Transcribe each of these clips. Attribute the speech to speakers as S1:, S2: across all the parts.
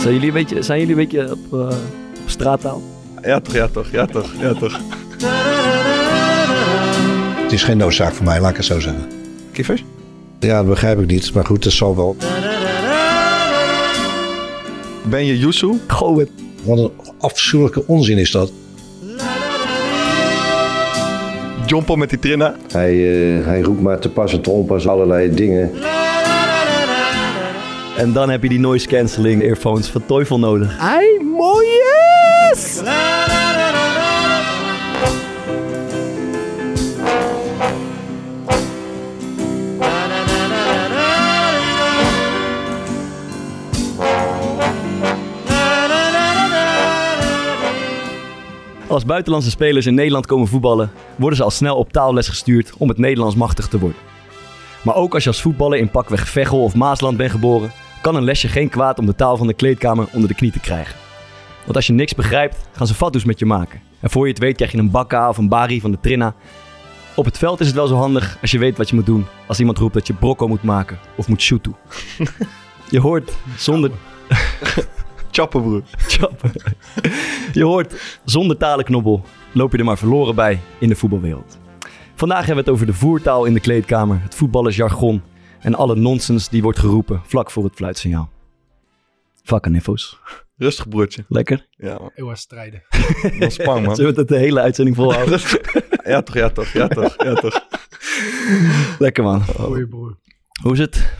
S1: Zijn jullie een beetje, zijn jullie een beetje op, eh, op straattaal?
S2: Ja toch, ja toch, ja toch, ja toch.
S3: Het is geen noodzaak voor mij, laat ik het zo zeggen.
S2: Kiffers?
S3: Ja, dat begrijp ik niet. Maar goed, dat zal wel.
S2: Ben je Yusu?
S1: Goh, het-
S3: Wat een afschuwelijke onzin is dat.
S2: Jompo met die trinna?
S4: Hij, eh, hij roept maar te pas en te onpas allerlei dingen.
S1: En dan heb je die noise cancelling earphones van Teufel nodig.
S5: Ai, mooies!
S1: Als buitenlandse spelers in Nederland komen voetballen, worden ze al snel op taalles gestuurd om het Nederlands machtig te worden. Maar ook als je als voetballer in pakweg Veghel of Maasland bent geboren, kan een lesje geen kwaad om de taal van de kleedkamer onder de knie te krijgen. Want als je niks begrijpt, gaan ze fatsoes met je maken. En voor je het weet krijg je een bakka of een bari van de trinna. Op het veld is het wel zo handig als je weet wat je moet doen als iemand roept dat je brocco moet maken of moet shooten. Je hoort zonder
S2: Chappen broer.
S1: Chappen. Je hoort, zonder talenknobbel loop je er maar verloren bij in de voetbalwereld. Vandaag hebben we het over de voertaal in de kleedkamer, het voetballersjargon en alle nonsens die wordt geroepen vlak voor het fluitsignaal. Vakken info's.
S2: Rustig broertje.
S1: Lekker.
S2: Ja man,
S5: Heel erg strijden.
S2: dat is spang man.
S1: Zullen we het de hele uitzending volhouden?
S2: Ja toch, ja toch, ja toch, ja toch.
S1: Lekker man.
S5: Goeie broer.
S1: Hoe is het?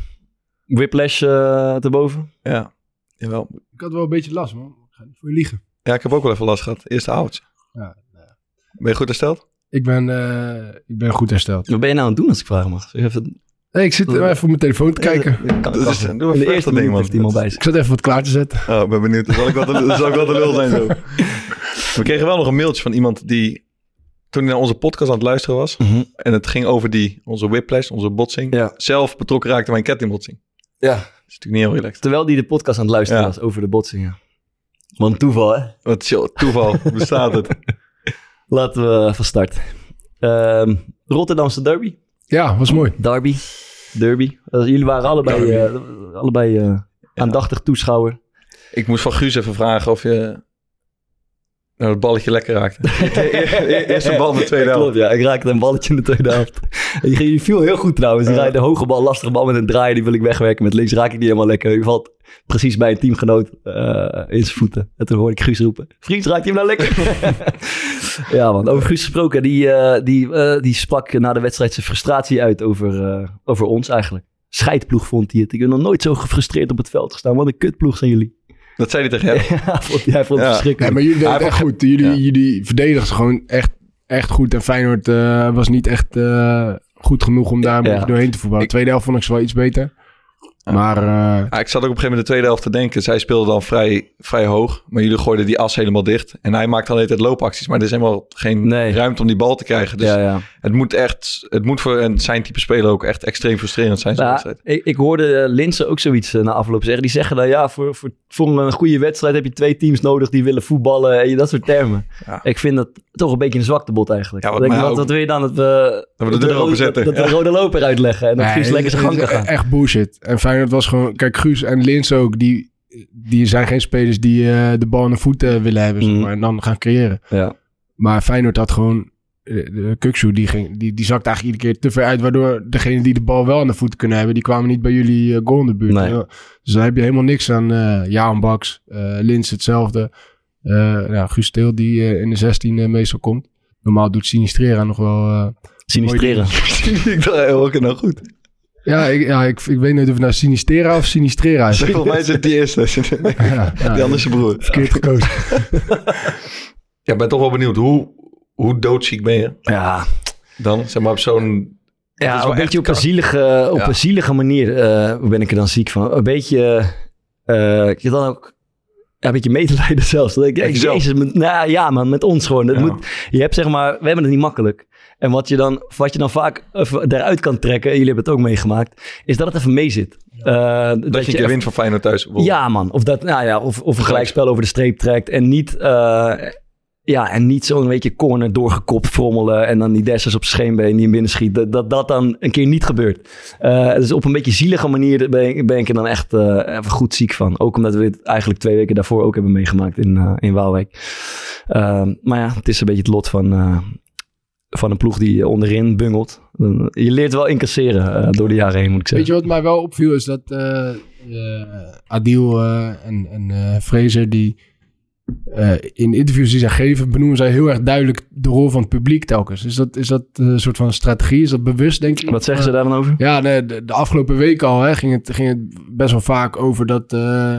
S1: Whiplash eh te boven?
S2: Ja, jawel.
S5: Ik had wel een beetje last, man. Ik ga niet voor je liegen.
S2: Ja, ik heb ook wel even last gehad. Eerste oudje.
S5: Ja,
S2: Ben je goed hersteld?
S5: Ik ben, eh, ik ben goed hersteld.
S1: Wat ben je nou aan het doen als ik vragen mag? Zeg Even, Eh,
S5: Hey, ik zit even op mijn telefoon te kijken.
S1: Kan- kan-
S2: Dat is- doe maar
S1: in de eerste
S2: vlug dat ding,
S1: minuut
S2: man.
S1: heeft iemand
S2: Dat
S1: bij
S5: Ik
S1: zich.
S5: zat even wat klaar te zetten.
S2: Oh, ik ben benieuwd. Dan zal ik wel de, dan zal ik wel de lul zijn zo. We kregen wel nog een mailtje van iemand die... Toen hij naar onze podcast aan het luisteren was...
S1: Mhm.
S2: En het ging over die, onze whiplash, onze botsing.
S1: Ja.
S2: Zelf betrokken raakte bij een kettingbotsing.
S1: Ja.
S2: Dat is natuurlijk niet heel relaxed.
S1: Terwijl die de podcast aan het luisteren
S2: Ja.
S1: was over de botsingen. Wat een toeval hè?
S2: Wat chill, toeval bestaat het.
S1: Laten we van start. Ehm, Rotterdamse derby.
S5: Ja, was mooi.
S1: Derby. Derby. Eh, jullie waren allebei, eh, allebei eh, aandachtig toeschouwer.
S2: Ik moest van Guus even vragen of je nou het balletje lekker raakte. E- Eerste bal in de tweede
S1: Ja, Klopt,
S2: helft.
S1: ja. Ik raakte een balletje in de tweede helft. En je, je viel heel goed trouwens. Je
S2: Ja.
S1: rijdt een hoge bal, lastige bal met een draai. Die wil ik wegwerken. Met links raak ik die helemaal lekker. Je valt precies bij een teamgenoot eh, in zijn voeten. En toen hoorde ik Guus roepen. Vriend, raakt hij hem nou lekker? ja man, over Guus gesproken. Die, eh, die, eh, die sprak na de wedstrijd zijn frustratie uit over, eh, over ons eigenlijk. Scheidploeg vond hij het. Ik heb nog nooit zo gefrustreerd op het veld gestaan. Wat een kutploeg zijn jullie.
S2: Dat zei hij tegen hem.
S1: Ja, vond, hij vond het
S2: Ja.
S5: Nee,
S1: verschrikkelijk.
S5: maar jullie deden
S2: Hij
S5: het echt
S2: heeft
S5: goed. Jullie,
S2: ja.
S5: jullie verdedigden gewoon echt, echt goed. En Feyenoord eh, was niet echt eh, goed genoeg om daar een
S1: Ja.
S5: beetje doorheen te voetballen.
S2: Ik-
S5: De tweede helft vond ik ze wel iets beter.
S2: Ja.
S5: Maar eh,
S2: Ah, ik zat ook op een gegeven moment in de tweede helft te denken. Zij speelde dan vrij, vrij hoog. Maar jullie gooiden die as helemaal dicht. En hij maakt dan de hele tijd loopacties. Maar er is helemaal geen
S1: Nee.
S2: ruimte om die bal te krijgen. Dus
S1: ja, ja.
S2: het moet echt, het moet voor een, zijn type speler ook echt extreem frustrerend zijn. zo'n
S1: Ja,
S2: wedstrijd.
S1: Nou, ik, ik hoorde eh, Linsen ook zoiets eh, na afloop zeggen. Die zeggen dan, ja, voor, voor, voor een goede wedstrijd heb je twee teams nodig die willen voetballen. En dat soort termen.
S2: Ja.
S1: Ik vind dat toch een beetje een zwaktebod eigenlijk.
S2: Ja,
S1: Ja,
S2: wat
S1: wat, denk, ik,
S2: mij
S1: wat,
S2: ook-
S1: wat wil je dan? Dat we,
S2: de deur
S1: rode-
S2: openzetten.
S1: Dat, dat we
S2: Ja.
S1: de rode loper uitleggen en dat
S5: nee,
S1: Guus lekker zijn
S5: het
S1: gang
S5: is e-
S1: kan gaan.
S5: Echt bullshit. En Feyenoord was gewoon... Kijk, Guus en Lins ook, die, die zijn geen spelers die eh, de bal aan de voeten willen hebben. zeg
S1: Mm.
S5: maar, en dan gaan creëren.
S1: Ja.
S5: Maar Feyenoord had gewoon... eh, de Kukzu, die, ging, die, die zakte eigenlijk iedere keer te ver uit. Waardoor degenen die de bal wel aan de voet kunnen hebben... die kwamen niet bij jullie eh, goal in de buurt.
S1: Nee.
S5: Ja, Dus daar heb je helemaal niks aan. eh Jaan Baks, eh, Lins hetzelfde. Eh nou, Guus Teel, die eh, in de 16 eh, meestal komt. Normaal doet Sinistrera nog wel... eh,
S1: Sinistreren.
S2: ik dacht, hey, oké, nou goed.
S5: ja, ik, ja ik, ik weet niet of het nou Sinistera of Sinistrera is.
S2: Volgens mij is het die eerste.
S5: ja, ja,
S2: Die andere is je broer.
S5: verkeerd gekozen.
S2: Ja, ik ben toch wel benieuwd. Hoe, hoe doodziek ben je
S1: Ja,
S2: dan? Zeg maar op zo'n... Dat is
S1: ja
S2: wel
S1: een
S2: echt
S1: beetje op een,
S2: kak.
S1: zielige, op
S2: Ja.
S1: een zielige manier eh, ben ik er dan ziek van. Een beetje, eh ik heb dan ook ja, een beetje medelijden zelfs. Dat ik denk,
S2: Met jezelf.
S1: jezus, met- nou ja man, met ons gewoon. Dat
S2: Ja.
S1: moet, Je hebt zeg maar, we hebben het niet makkelijk. En wat je dan, wat je dan vaak eruit kan trekken, en jullie hebben het ook meegemaakt, is dat het even mee zit. Eh, dat,
S2: Dat je een keer
S1: even-
S2: wint van Feyenoord thuis. bijvoorbeeld.
S1: Ja, man. Of, dat, nou ja, of, of een gelijkspel over de streep trekt en niet. eh, Ja, en niet zo'n beetje corner doorgekopt frommelen en dan die dessers op scheenbeen die hem binnenschiet. Dat, dat dat dan een keer niet gebeurt. Eh, dus op een beetje zielige manier ben, ik- ben ik er dan echt eh, even goed ziek van. Ook omdat we dit eigenlijk twee weken daarvoor ook hebben meegemaakt in, eh, in Waalwijk. Ehm, maar ja, het is een beetje het lot van, eh, van een ploeg die onderin bungelt. Je leert wel incasseren eh, door de jaren heen, moet ik
S5: Weet je
S1: zeggen.
S5: wat mij wel opviel is dat eh, eh, Adil eh, en, en eh, Fraser die eh, in interviews die zij geven benoemen zij heel erg duidelijk de rol van het publiek telkens. Is dat, is dat eh, een soort van strategie? Is dat bewust denk je?
S1: Wat zeggen ze daar dan over?
S5: Ja, nee, de, de afgelopen week al hè, ging, het, ging het best wel vaak over dat... eh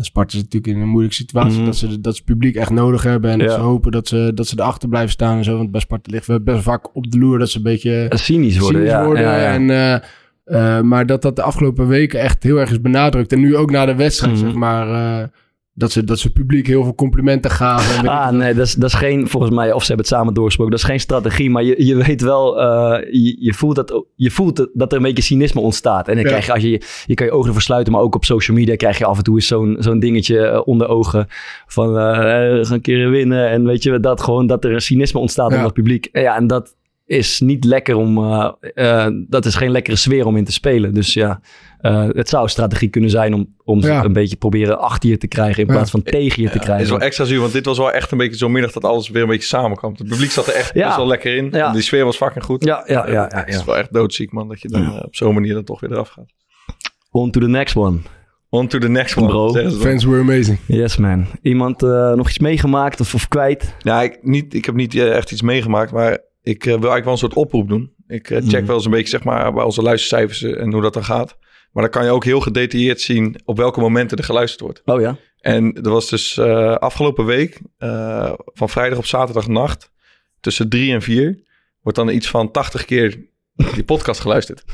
S5: Sparta is natuurlijk in een moeilijke situatie.
S1: Mhm.
S5: Dat, ze, dat ze het publiek echt nodig hebben. En dat
S1: Ja.
S5: ze hopen dat ze, dat ze erachter blijven staan en zo. Want bij Sparta liggen we best wel vaak op de loer dat ze een beetje
S1: Cynisch worden,
S5: eh, cynisch
S1: ja,
S5: worden.
S1: ja, ja.
S5: En, eh, eh, maar dat dat de afgelopen weken echt heel erg is benadrukt. En nu ook na de wedstrijd,
S1: Mhm.
S5: zeg maar. eh, dat, ze, dat ze het publiek heel veel complimenten gaven. En weet ik
S1: Ah,
S5: wat.
S1: nee, dat is, dat is geen, volgens mij, of ze hebben het samen doorgesproken, dat is geen strategie. Maar je, je weet wel, eh, je, je voelt, dat, ook- je voelt dat- dat er een beetje cynisme ontstaat. En dan
S5: Ja.
S1: krijg je, als je, je kan je ogen ervoor sluiten, maar ook op social media krijg je af en toe eens zo'n zo'n dingetje eh, onder ogen. Van, eh, eh, we gaan een keer winnen. En weet je, dat gewoon, dat er een cynisme ontstaat
S5: Ja.
S1: in dat publiek. En ja, en dat is niet lekker om, eh, eh, dat is geen lekkere sfeer om in te spelen. Dus ja, eh, het zou strategie kunnen zijn om, om ze
S5: Ja.
S1: een beetje proberen achter je te krijgen in
S5: Ja.
S1: plaats van tegen je te
S2: Het
S1: krijgen.
S2: is wel extra zuur, want dit was wel echt een beetje zo'n middag dat alles weer een beetje samenkwam. Het publiek zat er echt
S1: Ja.
S2: best wel lekker in.
S1: Ja.
S2: En Die sfeer was fucking goed.
S1: Ja, ja, ja, ja,
S2: Het
S1: ja.
S2: is wel echt doodziek, man, dat je dan eh, op zo'n manier dan toch weer eraf gaat.
S1: On to the next one.
S2: On to the next one.
S1: Bro.
S2: zeggen ze dan.
S5: Fans were amazing.
S1: Yes, man. Iemand eh, nog iets meegemaakt of, of kwijt?
S2: Nou, ik, niet, ik heb niet eh, echt iets meegemaakt, maar ik eh, wil eigenlijk wel een soort oproep doen. Ik eh, check
S1: Mhm.
S2: wel eens een beetje zeg maar, bij onze luistercijfers eh, en hoe dat dan gaat. Maar dan kan je ook heel gedetailleerd zien op welke momenten er geluisterd wordt.
S1: Oh ja?
S2: En er was dus eh, afgelopen week, eh, van vrijdag op zaterdagnacht, tussen drie en vier, wordt dan iets van 80 keer die podcast geluisterd.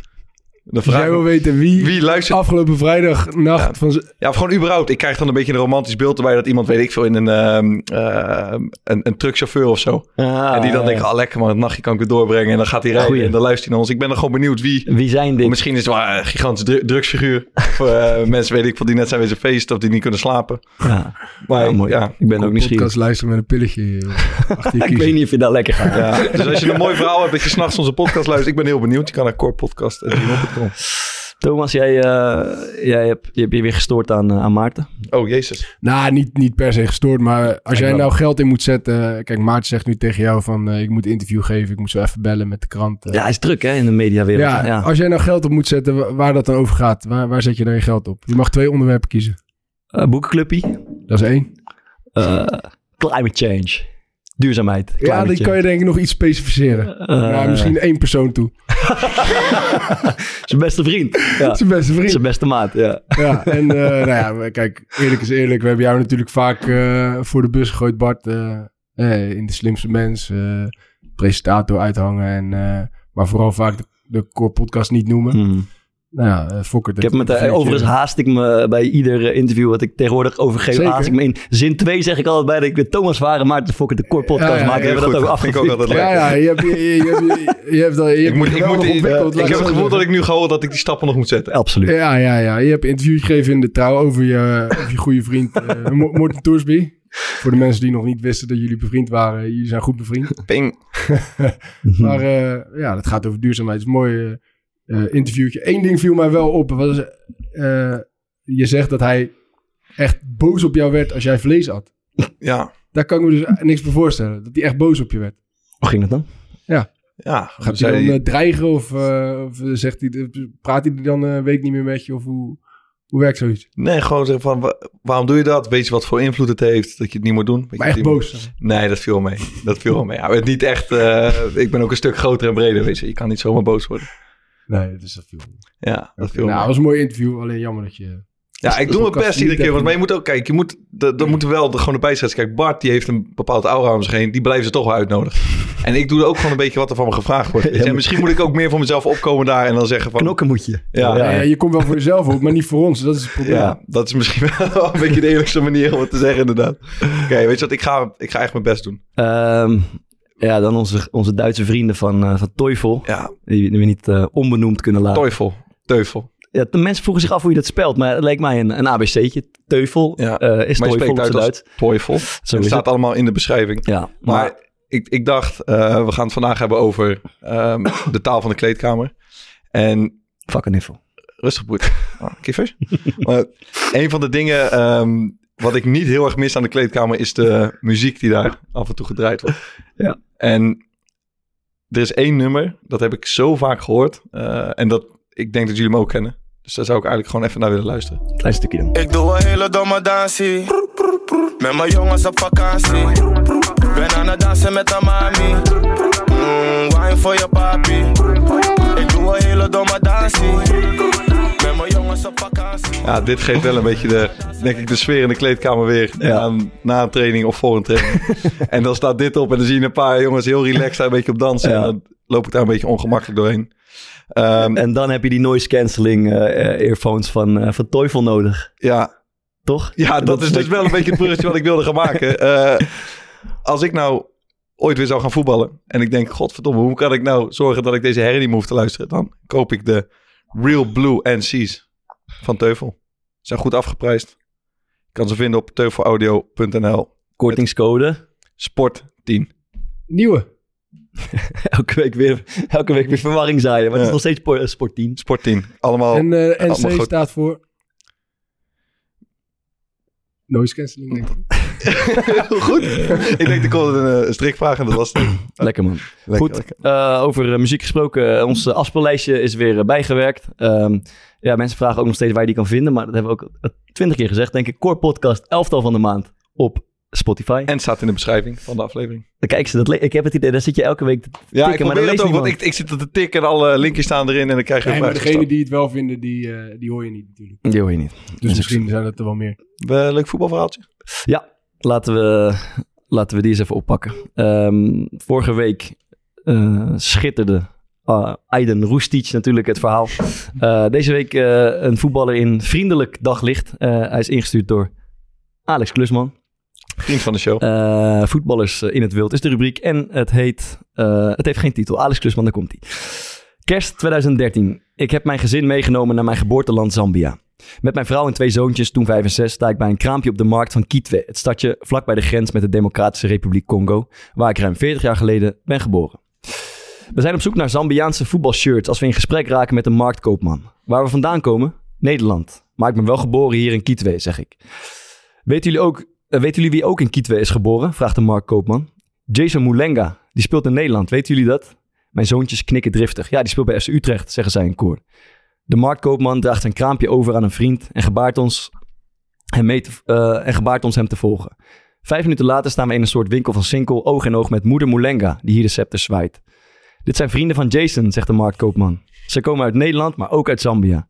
S2: Dan
S5: Dus
S2: vraag
S5: jij
S2: ik
S5: wil
S2: me,
S5: weten wie,
S2: wie luistert?
S5: afgelopen vrijdag nacht
S2: Ja.
S5: van... z-
S2: Ja, of gewoon überhaupt. Ik krijg dan een beetje een romantisch beeld erbij dat iemand, weet ik veel, in een, ehm, ehm, een, een truckchauffeur of zo. en die dan denkt, ah lekker man, het nachtje kan ik weer doorbrengen. En dan gaat hij rijden
S1: Goeie.
S2: en dan luistert hij naar ons. Ik ben dan gewoon benieuwd wie.
S1: Wie zijn dit?
S2: Misschien is het wel een gigantisch dru- drugsfiguur. Of eh, mensen, weet ik veel, die net zijn wezen feesten of die niet kunnen slapen.
S1: Ja.
S2: Maar
S1: Ja, mooi.
S2: ja.
S1: Ik ben ook nieuwsgierig.
S5: Podcast luisteren met een pilletje. joh. Achter je
S1: Ik weet
S5: kiezen.
S1: niet of je daar lekker gaat.
S2: Ja, dus als je een mooi verhaal hebt dat je s'nachts onze podcast luistert. Ik ben heel benieuwd. Je kan naar korepodcast.com.
S1: Thomas, jij, eh, jij hebt, je hebt je weer gestoord aan, eh, aan Maarten.
S2: Oh, jezus.
S5: Nou, niet, niet per se gestoord, maar als jij
S2: wel.
S5: nou geld in moet zetten... Kijk, Maarten zegt nu tegen jou van... eh, ik moet een interview geven, ik moet zo even bellen met de krant. eh.
S1: Ja, hij is druk hè, in de mediawereld.
S5: Ja,
S1: Ja, ja.
S5: als jij nou geld op moet zetten, wa- waar dat dan over gaat, waar, waar zet je dan je geld op? Je mag twee onderwerpen kiezen.
S1: Eh, boekenclubpie.
S5: Dat is één.
S1: Eh, climate change. Duurzaamheid.
S5: Ja, die kan je denk ik nog iets specificeren.
S1: Eh,
S5: Naar misschien één persoon toe.
S1: Zijn beste vriend. Ja.
S5: Zijn beste vriend.
S1: Zijn beste maat, ja.
S5: Ja, en eh, nou ja, maar kijk, eerlijk is eerlijk. We hebben jou natuurlijk vaak eh, voor de bus gegooid, Bart. eh, eh, in de slimste mens. eh, presentator uithangen. En, eh, maar vooral vaak de, de core podcast niet noemen.
S1: Hmm.
S5: Nou ja, eh, Fokker.
S1: Ik heb me daar- overigens haast ik me bij ieder eh, interview wat ik tegenwoordig overgeef.
S5: Zeker.
S1: Haast ik me in zin 2 zeg ik altijd bij dat ik de Thomas Varen Maarten Fokker de Kort podcast
S5: Ja, ja,
S1: maak.
S5: ja,
S1: hebben we dat
S2: goed.
S1: ook
S2: Vind ik ook
S1: afgevinkt.
S2: altijd
S5: Ja, ja, je hebt je, je, je, hebt- je hebt dat. Je
S2: Ik,
S5: hebt
S2: moet, ik,
S5: geweldig
S2: moet, eh,
S5: ontwikkeld,
S2: ik
S5: laat
S2: heb
S5: zo
S2: het gevoel
S5: zeggen.
S2: dat ik nu gehoord dat ik die stappen nog moet zetten.
S1: Absoluut.
S5: Ja, ja, ja. Je hebt een interview gegeven in de trouw over je, over je goede vriend eh, Mo- Morten Toersby. Voor de mensen die nog niet wisten dat jullie bevriend waren. Jullie zijn goed bevriend.
S2: Ping.
S1: Mhm.
S2: Hm.
S5: Maar eh, ja, dat gaat over duurzaamheid. Het is een mooi eh, eh, interviewtje. Eén ding viel mij wel op. Was, eh, je zegt dat hij echt boos op jou werd als jij vlees had.
S2: Ja.
S5: Daar kan ik me dus niks bij voorstellen. Dat hij echt boos op je werd.
S1: Hoe ging dat dan?
S2: Ja.
S5: Gaat hij
S2: Zei
S5: dan
S2: die-
S5: eh, dreigen of, eh, of zegt hij, praat hij er dan eh, een week niet meer met je? Of hoe, hoe werkt zoiets?
S2: nee, gewoon zeggen van, wa- waarom doe je dat? Weet je wat voor invloed het heeft dat je het niet moet doen? Weet je
S5: Maar echt
S2: wat die-
S5: boos.
S2: Nee, dat viel wel mee. Dat viel wel mee. Ja, maar niet echt, eh, ik ben ook een stuk groter en breder. Weet je. je kan niet zomaar boos worden.
S5: Nee, dat is dat veel.
S2: Ja, dat viel wel
S5: nou, dat
S2: mee.
S5: was een mooi interview. Alleen jammer dat je...
S2: Ja, ik doe mijn
S5: podcast
S2: best iedere
S5: niet
S2: keer. Want
S5: even-
S2: maar je moet ook kijken, je moet, dat, dat moeten we wel er gewoon erbij zetten. Kijk, Bart die heeft een bepaald aura om zich heen. Die blijven ze toch wel uitnodigen. En ik doe er ook gewoon een beetje wat er van me gevraagd wordt.
S1: Ja, maar-
S2: en misschien moet ik ook meer voor mezelf opkomen daar en dan zeggen van...
S1: Knokken moet je.
S2: Ja.
S5: Ja, je komt wel voor jezelf op, maar niet voor ons. Dat is het probleem.
S2: Ja, dat is misschien wel een beetje de eerlijkste manier om het te zeggen inderdaad. Oké, weet je wat? Ik ga, ik ga echt mijn best doen.
S1: Ehm, ja, dan onze, onze Duitse vrienden van, eh van Teufel.
S2: Ja,
S1: Die we die we niet eh, onbenoemd kunnen laten.
S2: teufel. Teufel.
S1: ja, de mensen vroegen zich af hoe je dat spelt, maar het leek mij een, een ABC'tje. Teufel
S2: Ja,
S1: eh, is
S2: maar je
S1: teufel op
S2: spreekt
S1: zijn
S2: uit
S1: Duits.
S2: als Teufel.
S1: Zo
S2: Het
S1: is
S2: staat
S1: het.
S2: allemaal in de beschrijving.
S1: Ja, maar,
S2: Maar, ik, ik dacht, eh, we gaan het vandaag hebben over ehm, de taal van de kleedkamer. En
S1: fucking niffel.
S2: rustig, boet. Ah, kiffers. Maar een van de dingen ehm, wat ik niet heel erg mis aan de kleedkamer is de muziek die daar af en toe gedraaid wordt.
S1: Ja.
S2: En er is één nummer, dat heb ik zo vaak gehoord. eh, en dat ik denk dat jullie hem ook kennen. Dus daar zou ik eigenlijk gewoon even naar willen luisteren.
S1: Klein stukje dan.
S6: Ik doe een hele domme dansie. Met mijn jongens op vakantie. Ben aan het dansen met de mami. Mm, wine voor je papi. Ik doe een hele domme dansie. Met mijn jongens op vakantie.
S2: Ja, dit geeft wel een beetje de, denk ik, de sfeer in de kleedkamer weer.
S1: Ja.
S2: Aan- na een training of voor een training. en dan staat dit op en dan zie je een paar jongens heel relaxed daar een beetje op dansen.
S1: Ja.
S2: En dan loop ik daar een beetje ongemakkelijk doorheen. Ehm,
S1: En dan heb je die noise cancelling eh, eh, earphones van, eh van Teufel nodig,
S2: ja,
S1: toch?
S2: ja, dat,
S1: Dat
S2: is
S1: is
S2: dus
S1: leuk.
S2: wel een beetje het bruggetje wat ik wilde gaan maken. Eh, als ik nou ooit weer zou gaan voetballen en ik denk, godverdomme, hoe kan ik nou zorgen dat ik deze herrie niet meer hoef te luisteren? Dan koop ik de Real Blue NC's van Teufel. Zijn goed afgeprijsd. Ik kan ze vinden op teufelaudio.nl.
S1: Kortingscode.
S2: Sport 10.
S5: Nieuwe.
S1: Elke week weer, elke week weer verwarring zaaien, maar het
S2: Ja.
S1: is nog steeds po- eh, sportteam.
S2: Sport 10. Allemaal.
S5: en eh,
S2: allemaal
S5: NC
S2: Oh, goed.
S5: staat voor... Noise cancelling, denk ik.
S2: Heel goed. ik denk, er komt een eh, strikvraag en dat was het.
S1: Lekker man.
S2: Lekker,
S1: Goed,
S2: lekker.
S1: eh, over eh, muziek gesproken. eh, ons eh, afspeellijstje is weer eh, bijgewerkt. Ehm, ja, mensen vragen ook nog steeds waar je die kan vinden. Maar dat hebben we ook eh, twintig keer gezegd, denk ik. Core Podcast, elftal van de maand op Spotify.
S2: En het staat in de beschrijving van de aflevering.
S1: En kijk ze, dat le- ik heb het idee, daar zit je elke week te tikken,
S2: Ja, ik
S1: maar dat
S2: probeer
S1: leest
S2: dat ook, want
S1: niemand.
S2: ik, ik zit op de tik en alle linkjes staan erin en dan krijg je een
S5: Nee, maar
S2: vraag.
S5: degene
S2: gesteld.
S5: die het wel vinden, die, eh, die hoor je niet natuurlijk.
S1: Die hoor je niet.
S5: Dus misschien zijn dat er wel meer.
S2: Eh, leuk voetbalverhaaltje.
S1: Ja, laten we, laten we die eens even oppakken. Ehm, vorige week eh, schitterde eh Aiden Roestic natuurlijk het verhaal. Eh, deze week eh, een voetballer in vriendelijk daglicht. Eh, hij is ingestuurd door Alex Klusman.
S2: Vriend van de show.
S1: Eh, voetballers in het wild is de rubriek. En het heet. eh, het heeft geen titel. Alex Klusman, daar komt hij. Kerst 2013. Ik heb mijn gezin meegenomen naar mijn geboorteland Zambia. Met mijn vrouw en twee zoontjes, toen vijf en zes, sta ik bij een kraampje op de markt van Kitwe. Het stadje vlakbij de grens met de Democratische Republiek Congo. Waar ik ruim 40 jaar geleden ben geboren. We zijn op zoek naar Zambiaanse voetbalshirts als we in gesprek raken met een marktkoopman. Waar we vandaan komen? Nederland. Maar ik ben wel geboren hier in Kitwe, zeg ik. Weten jullie, ook, eh, weten jullie wie ook in Kitwe is geboren? Vraagt de Mark Koopman. Jason Moulenga, die speelt in Nederland. Weten jullie dat? Mijn zoontjes knikken driftig. Ja, die speelt bij FC Utrecht, zeggen zij in koor. De Mark Koopman draagt zijn kraampje over aan een vriend en gebaart ons hem, mee te, eh, en gebaart ons hem te volgen. Vijf minuten later staan we in een soort winkel van Sinkel, oog in oog met moeder Moulenga, die hier de scepter zwaait. Dit zijn vrienden van Jason, zegt de Mark Koopman. Ze komen uit Nederland, maar ook uit Zambia.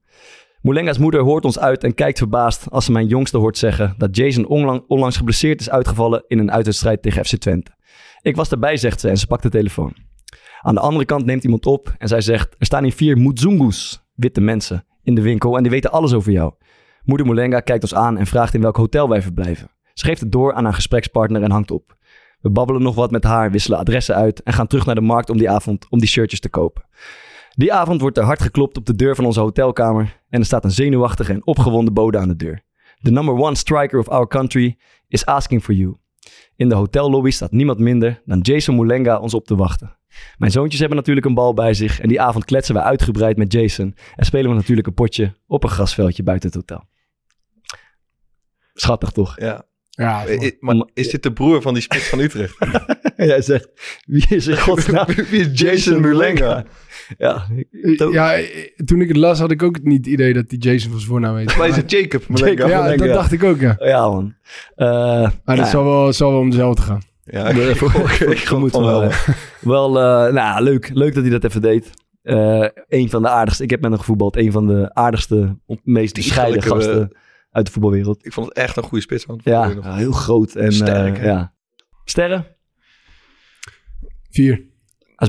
S1: Moulenga's moeder hoort ons uit en kijkt verbaasd als ze mijn jongste hoort zeggen dat Jason onlang- onlangs geblesseerd is uitgevallen in een uitwedstrijd tegen FC Twente. Ik was erbij, zegt ze en ze pakt de telefoon. Aan de andere kant neemt iemand op en zij zegt: Er staan hier vier Muzungus, witte mensen, in de winkel en die weten alles over jou. Moeder Moulenga kijkt ons aan en vraagt in welk hotel wij verblijven. Ze geeft het door aan haar gesprekspartner en hangt op. We babbelen nog wat met haar, wisselen adressen uit en gaan terug naar de markt om die avond om die shirtjes te kopen. Die avond wordt er hard geklopt op de deur van onze hotelkamer en er staat een zenuwachtige en opgewonden bode aan de deur. The number one striker of our country is asking for you. In de hotellobby staat niemand minder dan Jason Moulenga ons op te wachten. Mijn zoontjes hebben natuurlijk een bal bij zich en die avond kletsen we uitgebreid met Jason en spelen we natuurlijk een potje op een grasveldje buiten het hotel. Schattig toch?
S2: Ja.
S5: Ja,
S2: Eh, eh, Maar is dit de broer van die spits van Utrecht?
S1: Jij zegt, wie is in godsnaam?
S2: Wie is
S1: Jason
S2: Jason Mulenga?
S1: Ja,
S5: Eh, ja, eh, toen ik het las had ik ook niet het idee dat die Jason van zijn voornaam heet.
S2: Wij zijn Jacob Mulenga.
S5: ja, dat dacht ik ook, ja.
S1: ja man. Eh,
S5: Maar
S1: nou
S5: dat
S1: ja.
S5: zal wel, zal wel om dezelfde gaan.
S2: Ja, ik, ik, ik
S1: Moet
S2: moet wel.
S1: wel. Wel, eh, nou, ja, leuk. Leuk dat hij dat even deed. Eh een van de aardigste. Ik heb met hem gevoetbald. Een van de aardigste, meest bescheiden
S2: Ontiegelijke,
S1: gasten uit de voetbalwereld.
S2: Ik vond het echt een goede spits, man.
S1: Ja, heel groot en
S2: Sterk,
S1: eh,
S2: hè?
S1: ja. Sterren?
S5: Vier.
S1: Hij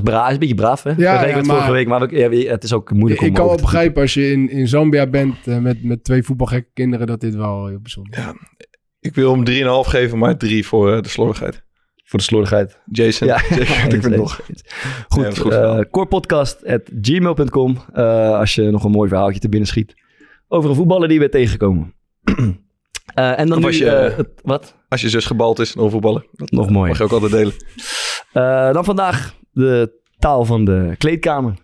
S1: is, bra- hij is een beetje braaf, hè?
S5: ja,
S1: dat deed ik het
S5: maar-
S1: vorige week, maar we- ja, we- het is ook moeilijk om
S5: ik kan wel
S1: over te-
S5: begrijpen als je in, in Zambia bent eh, met, met twee voetbalgekke kinderen dat dit wel heel bijzonder is.
S2: Ik wil hem 3,5 geven, maar 3 voor eh, de slordigheid.
S1: Voor de slordigheid.
S2: Jason,
S1: Ja.
S2: Jacob, ik ben
S1: Eens,
S2: nog.
S1: eens, eens. Goed,
S2: dat is goed
S1: eh,
S2: verhaal.
S1: korepodcast@gmail.com, eh, als je nog een mooi verhaaltje te binnen schiet. Over een voetballer die we tegenkomen. Eh, en dan
S2: Of
S1: nu...
S2: als je,
S1: eh,
S2: eh,
S1: het- wat?
S2: Als je zus gebald is, dan voetballen. Dat
S1: Nog mooier.
S2: mag je ook altijd delen.
S1: Eh, dan vandaag de taal van de kleedkamer.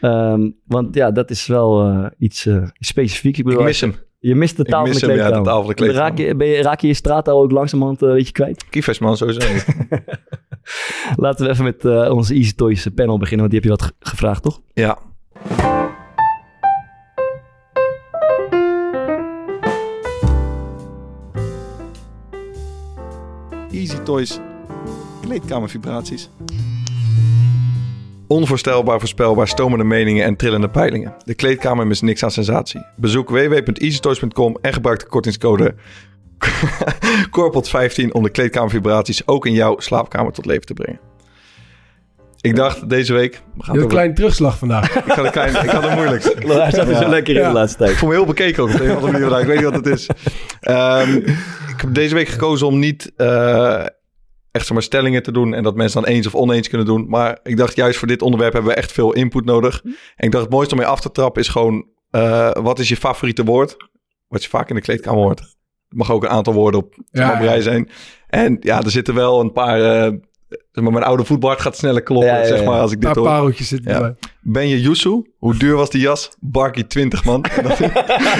S1: Ehm, want ja, dat is wel eh, iets eh, specifiek. Ik
S2: Ik
S1: bedoel,
S2: mis hem.
S1: je mist de
S2: ik
S1: taal van
S2: mis
S1: de
S2: hem, ja, de
S1: kleedkamer.
S2: taal van de kleedkamer.
S1: Raak je, ben je, raak je je straattaal ook langzamerhand eh, een beetje kwijt?
S2: Kiefesman, zo zijn.
S1: Laten we even met eh, onze Easy Toys panel beginnen, want die heb je wat ge- gevraagd, toch?
S2: Ja. Easy Toys. Kleedkamervibraties. Onvoorstelbaar, voorspelbaar, stomende meningen en trillende peilingen. De kleedkamer mist niks aan sensatie. Bezoek www.easytoys.com en gebruik de kortingscode KORPOT15 om de kleedkamervibraties ook in jouw slaapkamer tot leven te brengen. Ik dacht deze week... We gaan het
S5: Heel
S2: over-
S5: klein terugslag vandaag.
S2: ik had een klein, ik had een moeilijk.
S1: Hij zat er zo lekker in
S5: Ja.
S1: de laatste tijd.
S2: Ik voel me heel bekeken ook op de een of andere manier vandaag. Ik weet niet wat het is. Ehm, ik heb deze week gekozen om niet eh, echt zomaar stellingen te doen. En dat mensen dan eens of oneens kunnen doen. Maar ik dacht juist voor dit onderwerp hebben we echt veel input nodig. En ik dacht het mooiste om mee af te trappen is gewoon... eh, wat is je favoriete woord? Wat je vaak in de kleedkamer hoort. Het mag ook een aantal woorden op
S5: Ja,
S2: ja, zijn. En ja, er zitten wel een paar... eh, zeg maar, mijn oude voetbal gaat sneller kloppen,
S1: Ja, ja, ja.
S2: zeg maar, als ik
S5: een
S2: dit
S5: paar
S2: hoor.
S5: pareltjes zitten
S2: Ja.
S5: erbij.
S2: Ben je Yusu? Hoe duur was die jas? Barkie 20, man. En dan,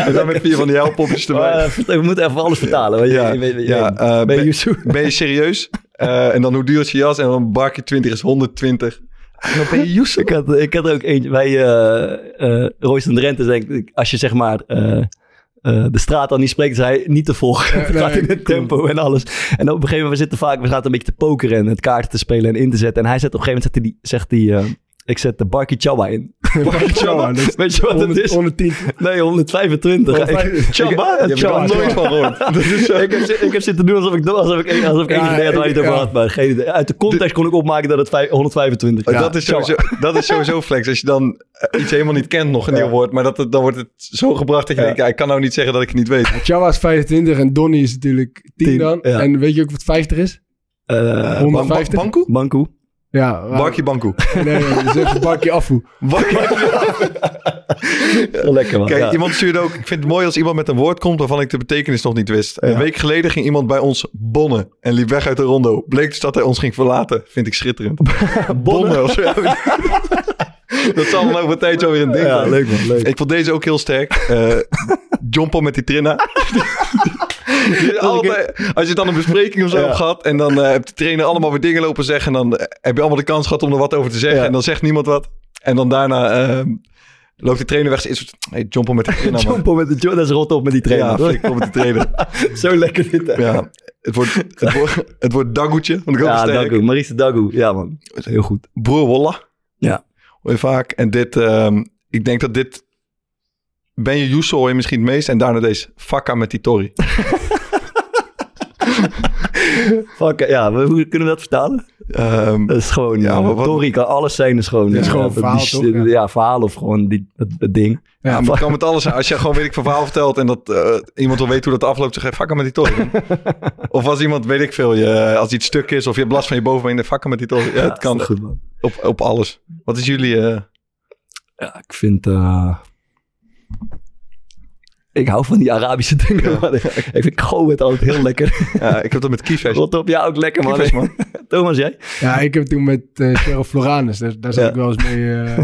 S2: en dan met vier van die helppopjes erbij.
S1: Maar, eh, we moeten even alles vertalen. want je-
S2: ja,
S1: je weet- je
S2: ja,
S1: weet-
S2: eh,
S1: ben je
S2: ben-
S1: Yusu?
S2: ben je serieus? Eh, en dan hoe duur is je jas? En dan barkie 20 is 120. En dan ben je Yusu.
S1: Ik had, ik had er ook eentje. Bij eh eh Royce en Drenthe denk ik, als je zeg maar eh, eh, de straat al niet spreekt, is hij niet te volgen.
S5: Ja,
S1: Het gaat
S5: nee,
S1: in het
S5: cool.
S1: tempo en alles. En op een gegeven moment, we zitten vaak, we zaten een beetje te pokeren en het kaarten te spelen en in te zetten. En hij zet op een gegeven moment, zegt hij, die, eh, ik zet de Barkie Chawa in.
S5: Ja, dat is
S1: Weet je wat het
S5: 100,
S1: is?
S5: 110.
S1: Nee, 125. Ik,
S5: 125.
S1: Chaba?
S2: Je hebt er
S1: Chawa.
S2: nog nooit van gehoord. Dat is, eh,
S1: Ik heb, zi- ik heb zitten doen alsof ik, alsof ik, alsof ik
S5: Ja,
S1: enig idee had waar je het over
S5: ja.
S1: had. Maar geen idee. Uit de context kon ik opmaken dat het vijf- 125 was.
S2: Oh, Eh, dat, is
S1: Chawa.
S2: sowieso, dat is sowieso flex. Als je dan eh, iets helemaal niet kent, nog een nieuw woord. Maar dat, het- dan wordt het zo gebracht dat je denkt, ja, ik kan nou niet zeggen dat ik het niet weet.
S5: Chawa is 25 en Donny is natuurlijk 10
S1: 10,
S5: dan.
S1: ja.
S5: En weet je ook wat 50 is?
S1: Eh,
S5: 150?
S2: Ban- Bankoe?
S1: Bankoe.
S5: Ja, waar-
S2: Barkie Bankoe.
S5: Nee, nee, nee, dat is echt een bakje afvoer.
S2: Barkie-
S1: Wel lekker man.
S2: Kijk,
S1: ja.
S2: iemand stuurde ook... Ik vind het mooi als iemand met een woord komt... waarvan ik de betekenis nog niet wist. Een week geleden ging iemand bij ons bonnen... en liep weg uit de rondo. Bleek dus dat hij ons ging verlaten. Vind ik schitterend. bonnen of zo. dat zal dan over een tijd zo weer een ding
S1: Ja,
S2: zijn.
S1: leuk man, leuk.
S2: Ik vond deze ook heel sterk. Eh Jompo met die trainer. Altijd, als je dan een bespreking of zo
S1: Ja.
S2: hebt gehad... en dan eh, hebt de trainer allemaal weer dingen lopen zeggen... en dan eh, heb je allemaal de kans gehad om er wat over te zeggen...
S1: Ja.
S2: en dan zegt niemand wat. En dan daarna eh, loopt de trainer weg... en is hey, Jompo met die trainer, man.
S1: Jumpo met de jo- dat is rot op met die
S2: Ja,
S1: trainer. hoor.
S2: flik op met die trainer.
S1: Zo lekker dit. hè.
S2: Ja, het wordt, het wordt, het wordt Dagoetje, vond ik ook
S1: Ja,
S2: sterk.
S1: Dagoe. Maurice Dagoe. Ja man, dat is heel goed.
S2: Broer Wolla.
S1: Ja.
S2: Hoor je vaak. En dit, ehm, ik denk dat dit... Ben je Yusso hoor je misschien het meest. En daarna deze. Fakka met die Tori.
S1: Fuck, ja, we- hoe kunnen we dat vertalen?
S2: Ehm,
S1: Dat is gewoon,
S2: Ja,
S1: ja,
S2: maar wat-
S1: Tori kan alles zijn, is gewoon, ja,
S5: is gewoon een
S1: dat-
S5: verhaal,
S1: die-
S5: toch? Ja.
S1: ja. verhaal of gewoon die, het, het ding.
S2: ja,
S5: Ja,
S2: maar het kan met alles zijn. Als je gewoon, weet ik, van verhaal vertelt... en dat eh, iemand wil weten hoe dat afloopt... zeg je fakka met die Tori. of als iemand, weet ik veel... Je, als iets stuk is of je hebt last van je bovenbeen... dan fakka met die Tori. Ja, het kan
S1: goed man.
S2: op, op alles. Wat is jullie... eh,
S1: Ja, ik vind... eh, ik hou van die Arabische dingen, man. Ik vind het altijd heel lekker.
S2: ja, ik heb dat met Kiefes.
S1: Rot op, ja, ook lekker, man.
S2: Kiefes, man.
S1: Thomas, jij?
S5: Ja, ik heb toen met eh Cheryl Floranus, daar, daar zat
S1: Ja.
S5: ik wel eens mee, eh,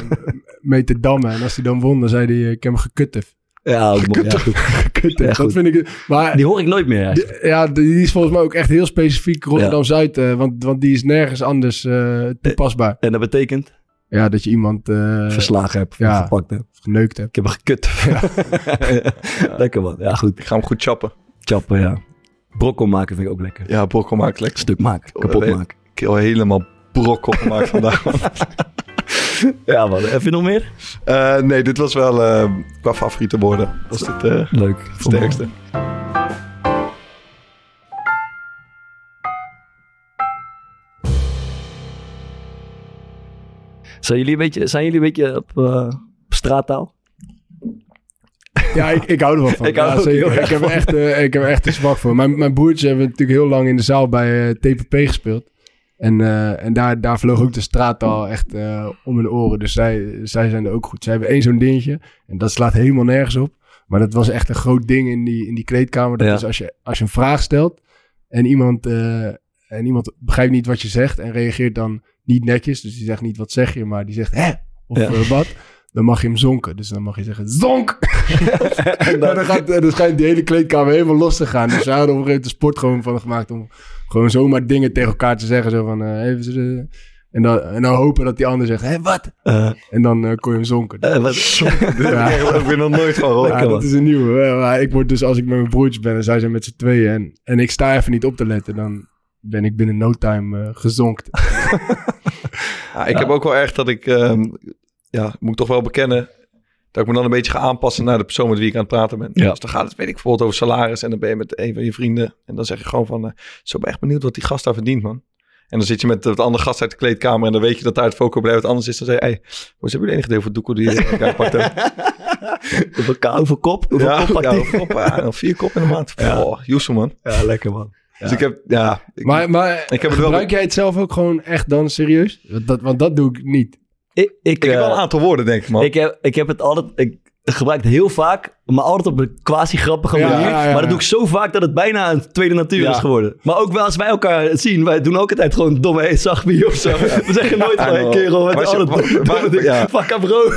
S5: mee te dammen. En als hij dan won, dan zei hij, eh, ik heb hem gekutteerd.
S1: Ja, ook, man. Ja, goed.
S5: Gekutteerd,
S1: Ja, goed.
S5: dat vind ik... Maar
S1: Die hoor ik nooit meer, eigenlijk.
S5: die- ja, die is volgens mij ook echt heel specifiek Rotterdam-Zuid. eh, want, want die is nergens anders eh, toepasbaar.
S1: En dat betekent?
S5: Ja, dat je iemand eh
S1: verslagen heb,
S5: ja.
S1: gepakt heb.
S5: geneukt hebt.
S1: Ik heb hem gekut. lekker man. Ja, goed.
S2: Ik ga hem goed chappen.
S1: Chappen, ja. Brokkel maken vind ik ook lekker.
S2: Ja, brokkel maakt lekker.
S1: Stuk maken, kapot
S2: nee.
S1: maken.
S2: keel helemaal brokkel gemaakt vandaag. man.
S1: Ja man, heb je nog meer?
S2: Eh, nee, dit was wel eh, qua favoriete woorden. Dat is het eh,
S1: Leuk.
S2: sterkste.
S1: Zijn jullie een beetje, zijn jullie een beetje op eh, op straattaal?
S5: Ja, ik, ik hou er wel van.
S1: Ik hou
S5: Ja,
S1: er ook
S5: zeker.
S1: heel erg
S5: ik heb er echt, eh, ik heb er echt een zwak voor. Mijn, mijn broertjes hebben natuurlijk heel lang in de zaal bij eh, TPP gespeeld. En, eh, en daar, daar vloog ook de straattaal echt eh, om hun oren. Dus zij, zij zijn er ook goed. Zij hebben één zo'n dingetje. En dat slaat helemaal nergens op. Maar dat was echt een groot ding in die, in die kleedkamer. Dat
S1: Ja.
S5: is als je, als je een vraag stelt en iemand, eh, en iemand begrijpt niet wat je zegt en reageert dan niet netjes. Dus die zegt niet wat zeg je, maar die zegt hè of
S1: Ja.
S5: eh, wat. Dan mag je hem zonken. Dus dan mag je zeggen zonk.
S1: En
S5: Ja,
S1: dan-
S5: dan, gaat, eh, dan schijnt die hele kleedkamer helemaal los te gaan. Dus ze hadden op een gegeven moment de sport gewoon van gemaakt om gewoon zomaar dingen tegen elkaar te zeggen. Zo van, eh, even, eh, en, dan, en dan hopen dat die ander zegt, hé, wat?
S1: Eh,
S5: En dan eh, kon je hem zonken.
S1: eh, wat-
S5: Ja.
S2: Ik heb er nog nooit van gehoord.
S5: Ja,
S1: Lekker,
S5: dat
S1: man.
S5: is een nieuwe. Eh, maar ik word dus, als ik met mijn broertjes ben en zij zijn met z'n tweeën en, en ik sta even niet op te letten, dan ben ik binnen no time eh, gezonkt.
S2: Ja, ik heb ook wel echt dat ik, ehm, ja, moet ik toch wel bekennen, dat ik me dan een beetje ga aanpassen naar de persoon met wie ik aan het praten ben.
S1: Ja.
S2: Dus dan gaat het, weet ik, bijvoorbeeld over salaris en dan ben je met een van je vrienden en dan zeg je gewoon van, eh, zo ben ik echt benieuwd wat die gast daar verdient, man. En dan zit je met het andere gast uit de kleedkamer en dan weet je dat daar het focus blijft anders is. Dan zeg je, hey, hoe hebben jullie enig deel voor doekoe die je elkaar pakt? hebt?"
S1: Hoeveel ka- hoeveel kop? Hoeveel
S2: ja,
S1: kop pakt
S2: ja,
S1: die?
S2: hoeveel kop? Ja, nou, vier kop in de maand.
S1: Ja.
S2: Oh, Joezel, man.
S1: Ja, lekker man.
S2: Dus ik heb, ja, ik,
S5: Maar, maar
S2: ik heb het wel-
S5: gebruik jij het zelf ook gewoon echt dan serieus? Want dat, want dat doe ik niet.
S1: Ik, ik,
S2: ik heb wel
S1: eh,
S2: een aantal woorden, denk ik, man.
S1: ik, heb, ik heb het altijd... Ik gebruik het heel vaak, maar altijd op een quasi-grappige
S5: Ja,
S1: manier.
S5: ja, ja,
S1: Maar dat
S5: ja.
S1: doe ik zo vaak dat het bijna een tweede natuur
S2: Ja.
S1: is geworden. Maar ook wel als wij elkaar zien, wij doen ook altijd gewoon domme hey, zachtbie of zo. We zeggen nooit
S2: Ja,
S1: van, hey,
S2: nou.
S1: kerel, wat
S2: Maar als je-
S1: altijd
S2: maar-
S1: domme
S2: maar-
S1: dingen.
S2: ja.
S1: Fuck up, bro.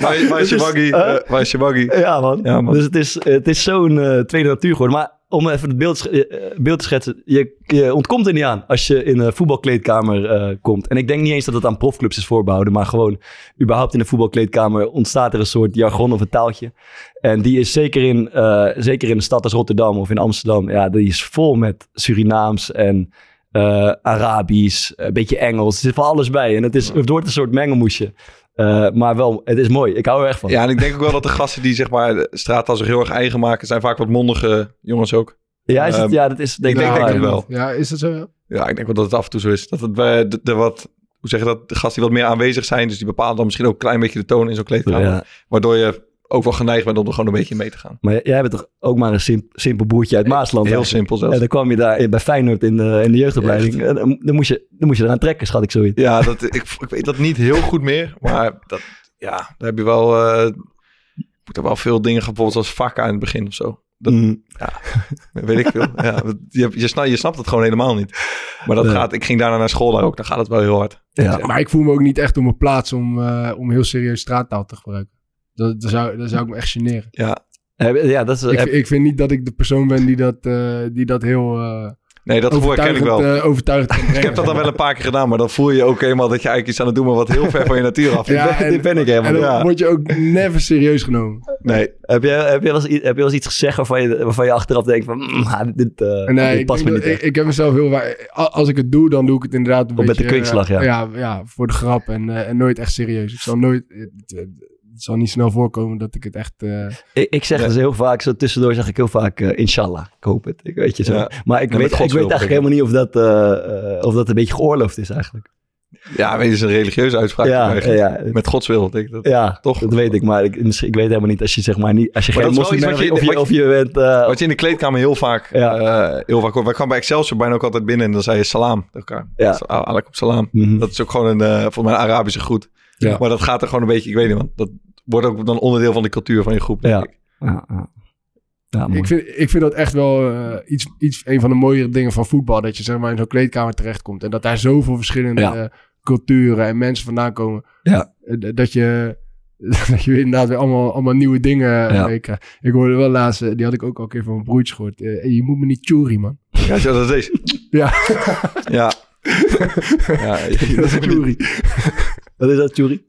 S2: Waar waar is je
S1: Dus,
S2: waggie?
S1: eh,
S2: Eh, Waar is je waggie?
S1: Ja man.
S2: Ja, man.
S1: Dus het is, het is zo'n eh, tweede natuur geworden. Maar om even het beeld, sch- eh, eh, beeld te schetsen. Je, je ontkomt er niet aan als je in een voetbalkleedkamer eh, komt. En ik denk niet eens dat het aan profclubs is voorbehouden. Maar gewoon überhaupt in een voetbalkleedkamer ontstaat er een soort jargon of een taaltje. En die is zeker in, eh, zeker in een stad als Rotterdam of in Amsterdam. Ja, die is vol met Surinaams en eh, Arabisch. Een beetje Engels. Er zit van alles bij. En het, is, het wordt een soort mengelmoesje. Eh, maar wel, het is mooi. Ik hou er echt van.
S2: Ja, en ik denk ook wel dat de gasten die zeg maar de straattas zich heel erg eigen maken, zijn vaak wat mondige jongens ook.
S1: Ja, is het-
S2: Ehm,
S1: ja dat is denk ik
S5: Nou,
S1: wel
S2: denk
S1: waar.
S2: het wel.
S5: Ja, is dat zo?
S2: Ja, ik denk wel dat het af en toe zo is. Dat het bij de, de wat, hoe zeg je dat, de gasten die wat meer aanwezig zijn, dus die bepalen dan misschien ook een klein beetje de toon in zo'n kleedkamer.
S1: Ja.
S2: Waardoor je ook wel geneigd bent om er gewoon een beetje mee te gaan.
S1: Maar jij bent toch ook maar een simp- simpel boertje uit Maasland?
S2: Heel
S1: eigenlijk?
S2: simpel
S1: En
S2: zelfs.
S1: dan kwam je daar in- bij Feyenoord in de, in de jeugdopleiding. En Dan, dan, moest je, dan moest je eraan trekken, schat ik zoiets.
S2: Ja, dat, ik, ik weet dat niet heel goed meer, maar dat, ja, daar heb je wel, eh, moet er wel veel dingen, bijvoorbeeld als vakken aan het begin of zo. Dat,
S1: Mm.
S2: Weet ik veel. Ja, want je, je, snapt, je snapt het gewoon helemaal niet. Maar dat
S1: Nee.
S2: gaat, ik ging daarna naar school daar ook, dan gaat het wel heel hard.
S1: Ja.
S5: Eh, Maar ik voel me ook niet echt op mijn plaats om, eh, om heel serieus straattaal te gebruiken. Dat, dat, zou, dat zou ik me echt generen.
S2: Ja,
S1: Heb- Ja, dat is...
S5: Ik,
S1: heb-
S5: ik vind niet dat ik de persoon ben die dat, eh, die dat heel eh
S2: Nee, dat gevoel herken ik
S5: overtuigend,
S2: wel.
S5: eh, overtuigend kan
S2: ik
S5: brengen.
S2: heb dat dan wel een paar keer gedaan, maar dan voel je ook helemaal dat je eigenlijk iets aan het doen bent wat heel ver van je natuur af. is.
S5: Ja, en-
S1: dit ben ik helemaal.
S5: En dan
S2: Ja.
S5: word je ook never serieus genomen.
S2: Nee,
S1: Heb jij, heb, jij wel eens, i- heb jij wel eens iets gezegd waarvan je, waarvan je achteraf denkt van... mm, ah, dit, eh,
S5: En, eh,
S1: dit
S5: ik,
S1: past me
S5: denk
S1: niet
S5: dat- ik,
S1: echt.
S5: ik heb mezelf heel... wa- a- Als ik het doe, dan doe ik het inderdaad een
S1: Op met
S5: beetje...
S1: de kwinkslag,
S5: eh,
S1: ja.
S5: ja. Ja, voor de grap en, eh, en nooit echt serieus. Ik zal nooit... Het, het zal niet snel voorkomen dat ik het echt... eh,
S1: Ik, ik zeg dus heel vaak, zo tussendoor zeg ik heel vaak, eh, inshallah, ik hoop het. Ik weet je zo.
S2: Ja.
S1: Maar ik
S2: Ja, met
S1: weet, ik
S2: Gods
S1: weet
S2: wil,
S1: eigenlijk helemaal niet of dat, eh, eh, of dat een beetje geoorloofd is eigenlijk.
S2: ja, weet je, is een religieuze uitspraak.
S1: Ja,
S2: eigenlijk.
S1: ja.
S2: Met Gods wil, denk ik dat.
S1: Ja,
S2: Toch?
S1: dat weet ik. Maar ik, misschien- ik weet helemaal niet als je zeg maar niet... Als je
S2: Maar
S1: geen
S2: dat is wel
S1: moslim bent
S2: iets
S1: of je,
S2: wat
S1: of
S2: je-
S1: je, of je bent... eh,
S2: Wat je in de kleedkamer heel vaak,
S1: Ja.
S2: eh, heel vaak hoort. Wij kwamen bij Excelsior bijna ook altijd binnen en dan zei je salam tegen elkaar.
S1: Ja.
S2: Sa- ah, Alaikum salam.
S1: mhm.
S2: Dat is ook gewoon een, eh, volgens mij een Arabische groet.
S5: Ja.
S2: Maar dat gaat er gewoon een beetje, ik weet niet man. Dat wordt ook dan onderdeel van de cultuur van je groep, denk
S1: Ja.
S2: ik.
S1: Ja, ja. Ja, Ah, mooi.
S5: Ik vind, ik vind dat echt wel eh, iets, iets, een van de mooiere dingen van voetbal. Dat je zeg maar in zo'n kleedkamer terechtkomt. En dat daar zoveel verschillende
S1: Ja.
S5: eh, culturen en mensen vandaan komen.
S1: Ja.
S5: Eh, d- dat je... Dat je inderdaad weer allemaal, allemaal nieuwe dingen eh,
S1: Ja.
S5: meekrijgt. Ik hoorde wel laatst, eh, die had ik ook al een keer van mijn broertje gehoord. eh, hey, je moet me niet churi, man.
S2: Ja, zo, dat is.
S5: Ja.
S2: Ja. ja.
S5: Dat is churi.
S1: Wat is dat, Jury?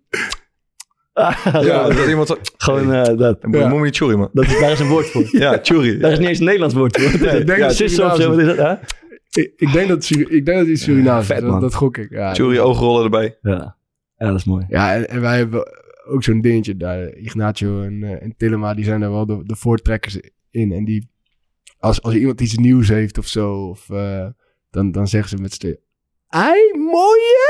S1: Ah,
S2: Ja, dat iemand zo...
S1: Gewoon eh, dat.
S5: Ja.
S2: Moet je niet churi, man.
S1: dat is, daar is een woord voor.
S2: Ja, churi.
S1: Daar is niet eens een Nederlands woord voor.
S5: ik denk
S1: ja,
S5: dat
S1: sissen of zo, wat is dat? hè?
S5: Ik, ik denk dat Suri- ik denk dat iets Surinaams
S1: vet,
S5: is. Dat,
S1: man.
S5: dat gok ik. Ja,
S2: Churi, oogrollen erbij.
S1: Ja. ja, dat is mooi.
S5: Ja, en, en wij hebben ook zo'n dingetje daar. Ignacio en, eh, en Tillema, die zijn daar wel de, de voortrekkers in. En die, als, als iemand iets nieuws heeft of zo, of, eh, dan, dan zeggen ze met z'n tweeën, Ai, mooie!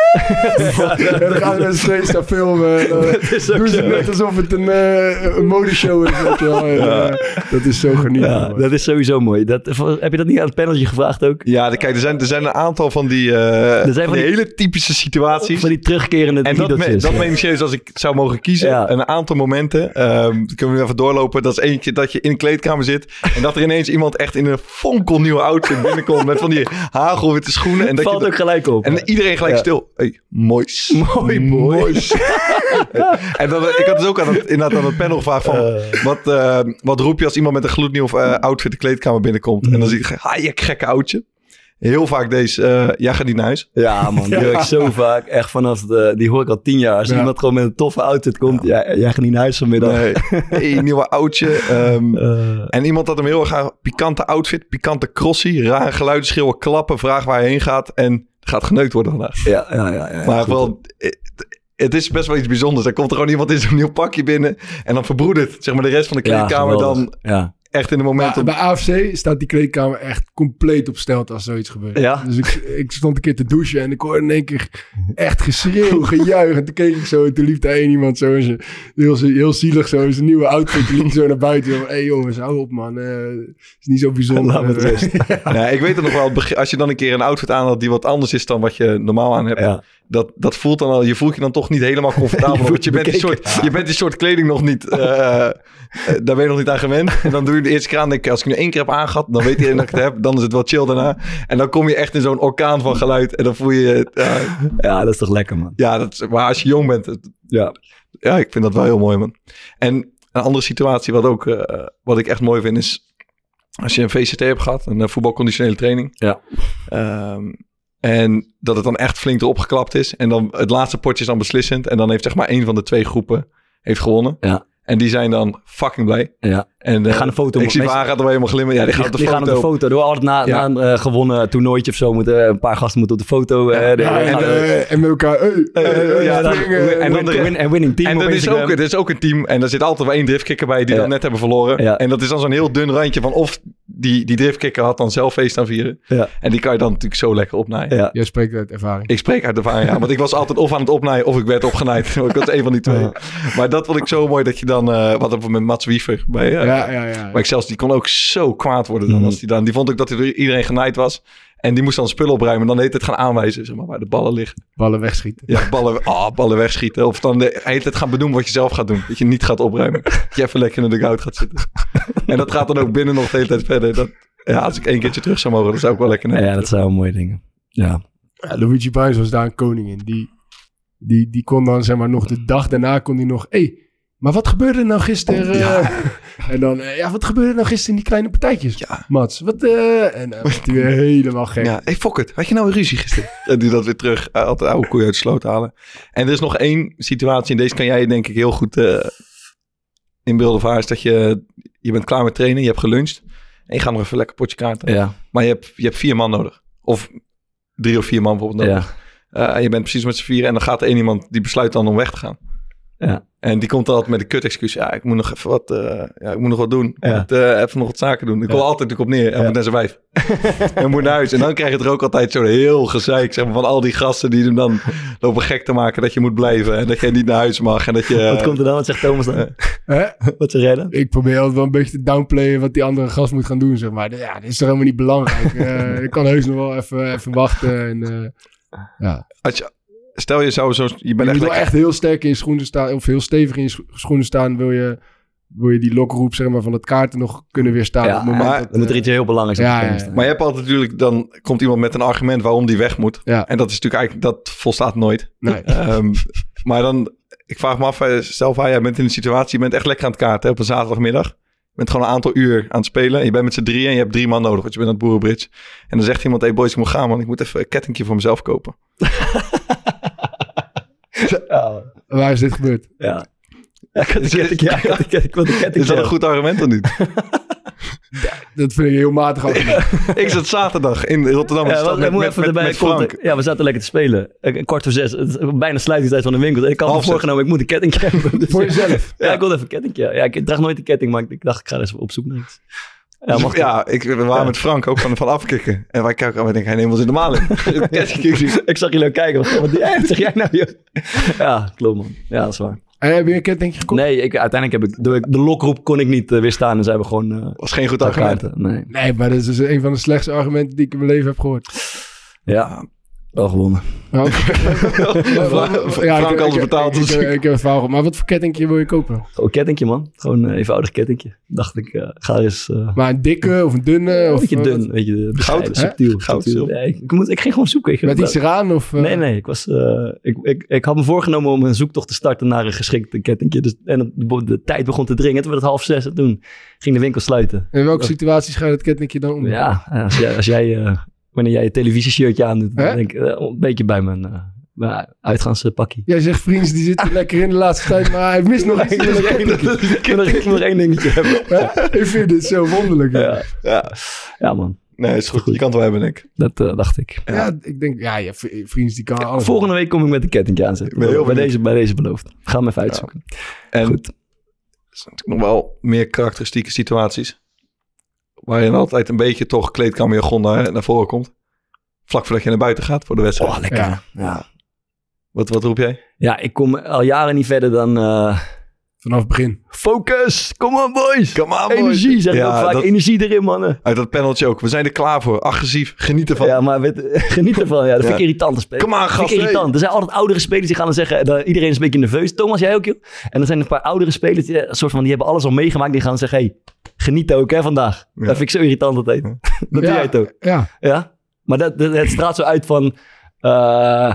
S5: En dan gaan we steeds naar filmen. eh,
S1: is ook
S5: doen ze
S1: zo.
S5: net alsof het een, eh, een modeshow is. weet je wel. En, eh, dat is zo genieten.
S1: Ja,
S5: man.
S1: dat is sowieso mooi. Dat, heb je dat niet aan het paneltje gevraagd ook?
S2: Ja, de- kijk, er zijn, er zijn een aantal van die, eh,
S1: zijn
S2: van
S1: van
S2: die
S1: die-
S2: hele typische situaties.
S1: Van die terugkerende
S2: en dat, me,
S1: diedeltjes.
S2: dat meen ik serieus, als ik zou mogen kiezen,
S1: Ja.
S2: een aantal momenten, ehm, die kunnen we even doorlopen. Dat is eentje dat je in een kleedkamer zit en dat er ineens iemand echt in een fonkelnieuwe outfit binnenkomt met van die hagelwitte schoenen. En dat
S1: Valt
S2: je,
S1: ook
S2: dat-
S1: gelijk op.
S2: en iedereen gelijk
S1: Ja.
S2: stil. Hey, moois.
S1: Mooi, mooi.
S2: En dan, ik had dus ook aan het, inderdaad aan het panel gevraagd van... wat, eh, wat roep je als iemand met een gloednieuw eh, outfit de kleedkamer binnenkomt? En dan zie je, ha, je gekke oudje. Heel vaak deze, eh, jij gaat niet naar huis.
S1: Ja, man, die hoor ik zo vaak. Echt vanaf de, die hoor ik al tien jaar. Als
S5: Ja.
S1: iemand gewoon met een toffe outfit komt, ja, jij gaat niet naar huis vanmiddag.
S2: Nee, hey, nieuwe oudje. ehm,
S1: Eh,
S2: en iemand had hem heel erg aan pikante outfit, pikante crossie, rare geluiden, schreeuwen, klappen, vraag waar hij heen gaat. En het gaat geneukt worden vandaag.
S1: ja, ja, ja, ja.
S2: Maar
S1: goed.
S2: wel, het, het is best wel iets bijzonders. Er komt er gewoon iemand in zo'n nieuw pakje binnen en dan verbroedert zeg maar, de rest van de
S1: Ja,
S2: kleedkamer
S1: geweldig.
S2: dan
S1: Ja.
S2: echt in de
S5: Maar
S2: momenten.
S5: bij AFC staat die kleedkamer echt compleet op stelt als zoiets gebeurt.
S1: Ja.
S5: Dus ik, ik stond een keer te douchen en ik hoorde in één keer echt geschreeuw, gejuich. En toen keek ik zo en toen liep daar één iemand zo, in zijn- heel, heel zielig zo, in zijn nieuwe outfit, liep zo naar buiten. Hé hey, jongens, hou op man, Eh, is niet zo bijzonder.
S1: Laat me met rust.
S2: Ja, ik weet het nog wel. het begin- Als je dan een keer een outfit aan had die wat anders is dan wat je normaal aan hebt.
S1: Ja.
S2: Dat, dat voelt dan al. Je voelt je dan toch niet helemaal comfortabel.
S1: voelt
S2: want je
S1: je
S2: bent, die soort, je bent die soort kleding nog niet. eh, eh, daar ben je nog niet aan gewend. En dan doe je de eerste keer aan. Denk ik, als ik nu één keer heb aangehad, dan weet iedereen dat ik het heb. Dan is het wel chill daarna. En dan kom je echt in zo'n orkaan van geluid. En dan voel je. het, eh,
S1: ja, dat is toch lekker, man.
S2: ja, dat, is- maar als je jong bent. het-
S1: Ja.
S2: ja, ik vind dat wel heel mooi, man. En een andere situatie wat, ook, eh, wat ik echt mooi vind is... Als je een VCT hebt gehad, een eh, voetbalconditionele training.
S1: Ja.
S2: Ehm, en dat het dan echt flink erop geklapt is. En dan het laatste potje is dan beslissend. En dan heeft zeg maar één van de twee groepen heeft gewonnen.
S1: Ja.
S2: En die zijn dan fucking blij.
S1: ja.
S2: En eh,
S1: Die gaan een foto
S2: Ik zie
S1: maken.
S2: waar gaat er helemaal glimmen. Ja, die, gaat op de
S1: die
S2: foto.
S1: gaan op de foto. Door altijd na,
S2: Ja.
S1: na een eh, gewonnen toernooitje of zo moeten eh, een paar gasten moeten op de foto. eh, de-
S5: Ja, en,
S1: gaan-
S5: eh, en met elkaar, hey,
S2: Eh,
S5: eh,
S2: ja, dan-
S5: springen.
S2: en dan-
S1: win- win- en winning team
S2: En
S1: op
S2: dan is
S1: Instagram.
S2: ook, er is ook een team. En daar zit altijd wel één driftkikker bij die
S1: Ja.
S2: dan net hebben verloren.
S1: Ja.
S2: En dat is dan zo'n heel dun randje van of die, die driftkikker had dan zelf feest aan vieren.
S1: Ja.
S2: En die kan je dan natuurlijk zo lekker opnaaien.
S1: Ja.
S5: Jij spreekt uit ervaring.
S2: Ik spreek uit ervaring, ja, want ik was altijd of aan het opnaaien of ik werd opgenaaid. ik was één van die twee. Maar dat vond ik zo mooi dat je dan, eh, wat hebben we met Mats Wiever bij, eh,
S5: Ja, ja, ja.
S2: maar ik zelfs, die kon ook zo kwaad worden dan.
S1: Mhm.
S2: Als die, dan die vond ook dat hij door iedereen genaaid was. En die moest dan spullen opruimen. En dan heet het gaan aanwijzen zeg maar, waar de ballen liggen.
S5: Ballen wegschieten.
S2: Ja, ballen, ah, ballen wegschieten. Of dan de hele tijd gaan benoemen wat je zelf gaat doen. Dat je niet gaat opruimen. Dat je even lekker in de dugout gaat zitten. En dat gaat dan ook binnen nog de hele tijd verder. Dat, ja, als ik één keertje terug zou mogen, dan zou ik wel lekker naar.
S1: ja, dat zijn wel mooie dingen. Ja.
S5: Ja, Luigi Bruins was daar een koning in. Die, die, die kon dan, zeg maar, nog de dag daarna kon hij nog... hey, maar wat gebeurde er nou gisteren? en dan, eh, ja, wat gebeurde er nou gisteren in die kleine partijtjes?
S2: Ja.
S5: Mats, wat... eh en dan werd hij weer helemaal gek.
S2: Ja, hey, fuck it. Had je nou een ruzie gisteren? En die dat weer terug. eh, altijd oude koeien uit de sloot halen. En er is nog één situatie. En deze kan jij denk ik heel goed eh inbeelden van haar. Is dat je, je bent klaar met trainen. Je hebt geluncht. En je gaat nog even lekker potje kaarten.
S1: Ja.
S2: Maar je hebt, je hebt vier man nodig. Of drie of vier man bijvoorbeeld nodig.
S1: Ja.
S2: Eh, en je bent precies met z'n vieren. En dan gaat er één iemand, die besluit dan om weg te gaan.
S1: Ja.
S2: En die komt dan altijd met een kut-excuus. Ja, ik moet nog even wat, eh, ja, ik moet nog wat doen. Ik
S1: Ja.
S2: moet, eh, even nog wat zaken doen. Ik wil altijd natuurlijk op neer. En moet naar zijn wijf. en moet naar huis. En dan krijg je er ook altijd zo'n heel gezeik zeg maar, van al die gasten die hem dan lopen gek te maken. Dat je moet blijven. En dat je niet naar huis mag. En dat je...
S1: Wat komt er dan? Wat zegt Thomas dan?
S5: Hè?
S1: Wat zeg jij dan?
S5: Ik probeer altijd wel een beetje te downplayen wat die andere gast moet gaan doen, zeg maar. Ja, dat is toch helemaal niet belangrijk. Eh, ik kan heus nog wel even, even wachten. En, eh, ja.
S2: als je, stel je zou zo... Je
S5: Je
S2: bent
S5: moet
S2: echt
S5: wel
S2: lekker...
S5: echt heel sterk in je schoenen staan, of heel stevig in je scho- schoenen staan, wil je, wil je die lokroep zeg maar, van het kaarten nog kunnen weerstaan.
S1: Ja,
S5: op het moment
S2: maar-
S5: dat,
S1: Dan moet er
S5: eh,
S1: iets heel belangrijks op
S5: Ja,
S1: de planning
S5: ja, ja.
S1: staan.
S2: Maar je hebt altijd natuurlijk... Dan komt iemand met een argument waarom die weg moet.
S5: Ja.
S2: En dat is natuurlijk eigenlijk... Dat volstaat nooit.
S5: nee.
S2: Ehm, maar dan, ik vraag me af, eh, stel van, jij bent in een situatie, je bent echt lekker aan het kaarten hè, op een zaterdagmiddag. Je bent gewoon een aantal uur aan het spelen. En je bent met z'n drieën en je hebt drie man nodig, want je bent aan het boerenbridge. En dan zegt iemand, hey boys, ik moet gaan, man. Ik moet even een kettingje voor mezelf kopen.
S5: Waar is dit gebeurd?
S1: Ja. Oh. Ja, ik had een
S2: Is het-
S1: ketting, ja, ik had een ketting, ik eh, had een ketting,
S2: Is dat
S1: ja.
S2: een goed argument of niet?
S5: Dat vind ik heel matig. af.
S2: ik zat zaterdag in Rotterdam. in de
S1: Ja,
S2: stad
S1: wel, ik
S2: met,
S1: moet
S2: met,
S1: even
S2: met,
S1: erbij
S2: met
S1: het volgende-
S2: Frank.
S1: Ja, we zaten lekker te spelen. Eh, Kwart voor zes. Het is bijna sluitingstijd van de winkel. En Ik had me
S2: Half zes.
S1: voorgenomen, ik moet een ketting hebben. Dus
S5: Voor
S1: ja.
S5: jezelf.
S1: Ja, ik wilde even een kettingje. Ja, ik draag nooit een ketting, maar ik dacht, ik ga er eens op zoek naar iets. Ja, mag
S2: ja, ik, we waren met Frank ook van, van afkicken. En wij kijken en wij denken, hij neemt ons in de maling.
S1: Ik zag jullie ook kijken. Wat, wat wat zeg jij nou, joh? Ja, klopt man. Ja, dat is waar.
S5: Eh, heb je een kettingje gekocht?
S1: Nee, ik, uiteindelijk heb ik... De, de lokroep kon ik niet eh, weerstaan en ze hebben gewoon... eh
S2: was geen goed argument.
S1: kaarten. Nee.
S5: Nee, maar dat is dus een van de slechtste argumenten die ik in mijn leven heb gehoord.
S1: Ja, wel gewonnen.
S5: Nou,
S2: Frank
S5: ik-
S2: alles
S5: ik-
S2: betaald,
S5: Ik, ik,
S2: dus-
S5: ik heb een verhaal gehoord. Maar wat voor kettingje wil je kopen?
S1: Gewoon kettingje, man. Gewoon een eenvoudig kettingje. Dacht ik, eh, ga eens... eh,
S5: Maar een dikke of een dunne?
S1: een
S5: Of,
S1: beetje
S5: eh,
S1: dun, weet je, bescheiden,
S2: Goud,
S5: hè?
S1: subtiel.
S2: Goud,
S1: subtiel.
S2: zilver.
S1: Nee, ik, ik moet, ik ging gewoon zoeken. Ik,
S5: Met iets eraan? Of, eh,
S1: Nee, nee. Ik, was, eh, ik, ik, ik had me voorgenomen om een zoektocht te starten naar een geschikt kettingje. Dus, en het- de, de tijd begon te dringen. Toen werd het half zes en toen ging de winkel sluiten.
S5: In welke situaties ga je dat kettingje dan om?
S1: Ja, als jij, als jij eh, wanneer jij je televisieshirtje aandoet, dan
S5: Hè?
S1: denk ik eh, een beetje bij mijn, eh, mijn uitgaanspakkie.
S5: Jij zegt, vriends, die zitten lekker in de laatste tijd, maar hij mist nog iets.
S1: Ik wil nog één- ik wil nog- ik wil nog één dingetje hebben.
S5: Hè? ik vind dit zo wonderlijk. hè.
S1: Ja,
S2: Ja,
S1: ja man,
S2: nee, is goed. Je kan het wel hebben, denk ik.
S1: dat eh, dacht ik.
S5: Ja, ik denk, ja, je v- vriends, die kan alles.
S1: Volgende week kom ik met een kettingje aanzetten.
S2: Ik ben heel
S1: bij,
S2: benieuwd.
S1: deze, bij deze beloofd. Ga hem even uitzoeken.
S2: En
S1: Goed.
S2: er zijn natuurlijk nog wel meer karakteristieke situaties. Waarin altijd een beetje toch kleedkamer naar, naar voren komt. Vlak voordat je naar buiten gaat voor de wedstrijd.
S1: Oh, lekker.
S5: Ja.
S1: Ja.
S2: Wat, wat roep jij?
S1: ja, ik kom al jaren niet verder dan... eh,
S5: Vanaf het begin.
S1: Focus! Come on, boys!
S2: Come on, boys.
S1: Energie, zeg ik
S2: Ja,
S1: ook vaak.
S2: dat-
S1: Energie erin, mannen.
S2: Uit dat paneltje ook. We zijn er klaar voor. Agressief. Geniet ervan.
S1: Ja, maar weet, geniet ervan. Ja, dat vind ik
S2: Ja.
S1: irritant. Spelen.
S2: Come on,
S1: vind
S2: gasten.
S1: ik irritant. Er zijn altijd oudere spelers die gaan dan zeggen... Dan, iedereen is een beetje nerveus. Thomas, jij ook, joh? En er zijn een paar oudere spelers... Die, eh, soort van, die hebben alles al meegemaakt. Die gaan dan zeggen... Hey, geniet ook, hè, vandaag.
S2: Ja.
S1: Dat vind ik zo irritant altijd. dat doe
S5: Ja.
S1: jij het ook.
S5: Ja,
S1: Ja? Maar dat, dat- het straalt zo uit van... eh,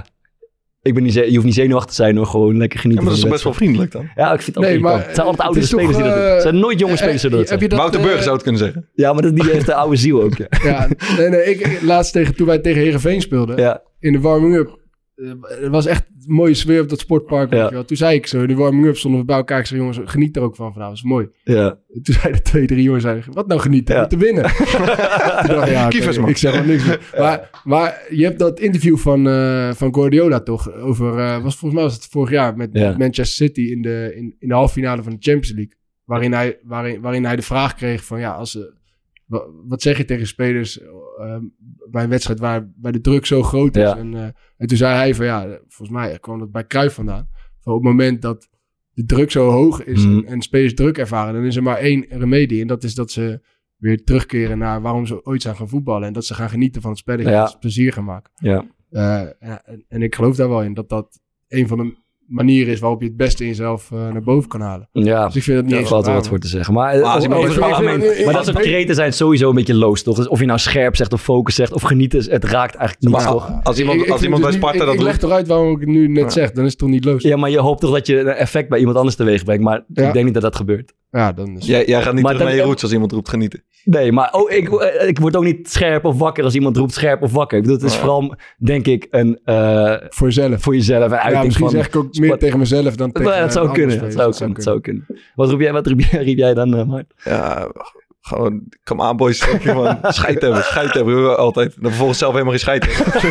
S1: ik ben niet, ze- je hoeft niet zenuwachtig te zijn, hoor. Gewoon lekker
S2: Ja,
S1: genieten
S2: maar dat
S1: van
S2: is
S1: de
S2: toch best wel vriendelijk dan.
S1: wedstrijd. Ja, ik vind het altijd
S5: Nee,
S1: irritant.
S5: maar,
S1: Het zijn altijd
S5: eh,
S1: oudere spelers
S5: het is toch,
S1: die dat doen.
S5: eh,
S1: Het zijn nooit jonge
S5: Eh,
S1: spelers die dat
S5: eh,
S1: doen.
S5: heb je dat,
S2: Wouter
S5: eh,
S2: Burg zou het kunnen zeggen.
S1: Ja, maar dat, die heeft de oude ziel ook. Ja.
S5: Ja, nee, nee, ik, ik- laatst tegen, toen wij tegen Herenveen speelden,
S1: Ja.
S5: in de warming-up. eh, Het was echt een mooie sfeer op dat sportpark. weet
S1: Ja.
S5: je wel. Toen zei ik zo, in de warming-up stonden we bij elkaar. Ik zei, jongens, geniet er ook van vanavond. Dat is mooi.
S1: ja.
S5: Toen zeiden twee, drie jongens, zeiden, wat nou genieten?
S1: Ja.
S5: Om te winnen. Toen dacht ik, ja, oké,
S2: Kievers, man.
S5: ik zeg wel niks meer. Maar, maar je hebt dat interview van, eh, van Guardiola toch? Over, eh, was volgens mij was het vorig jaar met
S1: Ja.
S5: met Manchester City in de, in, in de halve finale van de Champions League. Waarin hij, waarin, waarin hij de vraag kreeg van, ja, als, eh, wa- wat zeg je tegen spelers eh, bij een wedstrijd waar, waar de druk zo groot is?
S1: Ja.
S5: En, eh, en toen zei hij van, ja, volgens mij kwam dat bij Cruijff vandaan. Van op het moment dat de druk zo hoog is
S1: Mhm.
S5: en, en spelers druk ervaren, dan is er maar één remedie. En dat is dat ze weer terugkeren naar waarom ze ooit zijn gaan voetballen. En dat ze gaan genieten van het spelletje,
S1: Ja.
S5: dat ze plezier gaan maken.
S1: Ja.
S5: Eh, en, en ik geloof daar wel in dat dat een van de manieren is waarop je het beste in jezelf eh, naar boven kan halen.
S1: Ja,
S5: Dus ik vind dat niet
S1: daar
S5: eens
S1: valt wel
S5: raar,
S1: wat voor te zeggen. Maar, eh,
S2: Maar als
S1: over-
S2: iemand
S1: over
S5: over-
S1: het algemeen-
S5: over-
S1: maar dat soort kreten zijn sowieso een beetje loos, toch? Dus of je nou scherp zegt of focus zegt of genieten, het raakt eigenlijk niet,
S2: Maar
S1: toch?
S2: als
S5: man. Ik-
S2: iemand,
S5: ik
S2: als iemand
S5: vind het
S2: bij
S5: niet-
S2: Sparta
S5: ik,
S2: dat
S5: Ik
S2: doet,
S5: leg toch uit waarom ik het nu net zeg, dan is het toch niet loos. Ja,
S1: Ja, maar je hoopt toch dat je een effect bij iemand anders teweeg brengt. Maar ik
S5: Ja.
S1: denk niet dat dat gebeurt.
S5: dan is
S2: jij, jij gaat niet
S1: Maar
S2: terug
S1: dat-
S2: naar je roots als iemand roept genieten.
S1: Nee, maar oh, ik, eh, ik word ook niet scherp of wakker als iemand roept scherp of wakker. Ik bedoel, het is
S2: Ja.
S1: vooral, denk ik, een, eh,
S5: voor jezelf.
S1: voor jezelf een
S5: Ja,
S1: uiting
S5: misschien
S1: van...
S5: zeg ik ook meer
S1: Sport-
S5: tegen mezelf dan tegen
S1: Ja, dat zou kunnen, dat zou kunnen, dat zou kunnen. Wat roep jij, wat roep jij, riep jij dan, eh, Mart?
S2: Ja, gewoon, come on boys. Zeg je Gewoon, scheid hebben, scheid hebben. we Altijd. Dan vervolgens zelf helemaal geen scheid hebben.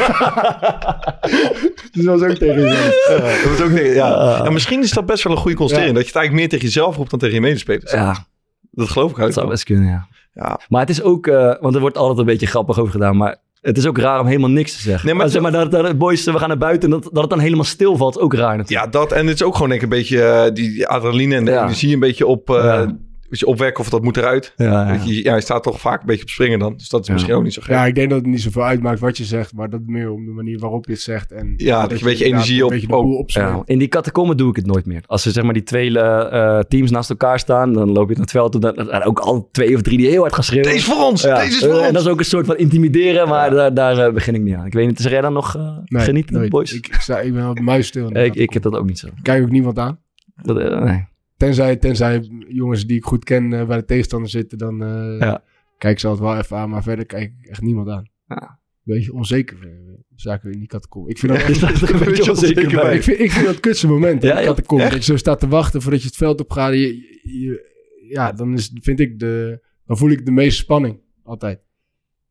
S5: Dus dat was ook tegen jezelf.
S2: Dat moet ook niet- ja. En misschien is dat best wel een goede constatering. Dat je het eigenlijk meer tegen jezelf roept dan tegen je medespelers.
S1: Ja,
S2: Dat geloof ik
S1: Dat
S2: uit.
S1: zou best kunnen, ja.
S2: Ja.
S1: Maar het is ook, eh, want er wordt altijd een beetje grappig over gedaan, maar het is ook raar om helemaal niks te zeggen.
S2: Nee, maar
S1: maar zeg maar dat, dat het boys, eh, we gaan naar buiten, en dat, dat het dan helemaal stil valt, is ook raar natuurlijk.
S2: Ja, dat. En het is ook gewoon denk ik een beetje eh, die, die adrenaline en de
S1: Ja.
S2: energie een beetje op, eh,
S1: Ja.
S2: weet je, opwekken of dat moet eruit.
S1: Ja, ja.
S2: Weet je, ja, je staat toch vaak een beetje op springen dan. Dus dat is
S1: Ja.
S2: misschien ook niet zo gek.
S5: Ja, ik denk dat het niet zoveel uitmaakt wat je zegt, maar dat het meer om de manier waarop je het zegt. En
S2: Ja, dat je een beetje
S5: inderdaad
S2: energie op-
S5: Een beetje de
S2: op-
S5: boel opsmeert.
S1: Ja, in die catacomben doe ik het nooit meer. Als er zeg maar die twee eh, teams naast elkaar staan, dan loop je naar het veld toe. Dan, dan zijn er ook al twee of drie die heel hard gaan schreeuwen.
S2: Deze is voor ons!
S1: Ja.
S2: Deze is voor
S1: Eh, En dat
S2: ons!
S1: is ook een soort van intimideren, maar daar, daar eh, begin ik niet aan. Ik weet niet, is jij dan nog eh
S5: Nee,
S1: genieten,
S5: nooit.
S1: boys?
S5: Ik,
S1: Ik,
S5: ik, sta, ik ben altijd muisstil.
S1: ik,
S5: inderdaad.
S1: heb dat ook niet zo.
S5: kijk ook niemand aan.
S1: Dat, eh, nee.
S5: Tenzij, tenzij jongens die ik goed ken eh, bij de tegenstander zitten, dan eh,
S1: Ja.
S5: kijk ik ze altijd wel even aan. Maar verder kijk ik echt niemand aan.
S1: Ja.
S5: Beetje onzeker. eh, Zaken in die catacombe. Ik vind dat
S1: Je staat er een beetje onzeker bij.
S5: ik, vind, ik vind dat kutste moment.
S1: Ja,
S5: Ja,
S1: ja.
S5: dat komt. Dat je zo staat te wachten voordat je het veld op gaat. Je, je- je- ja, dan is, vind ik de, dan voel ik de meeste spanning altijd.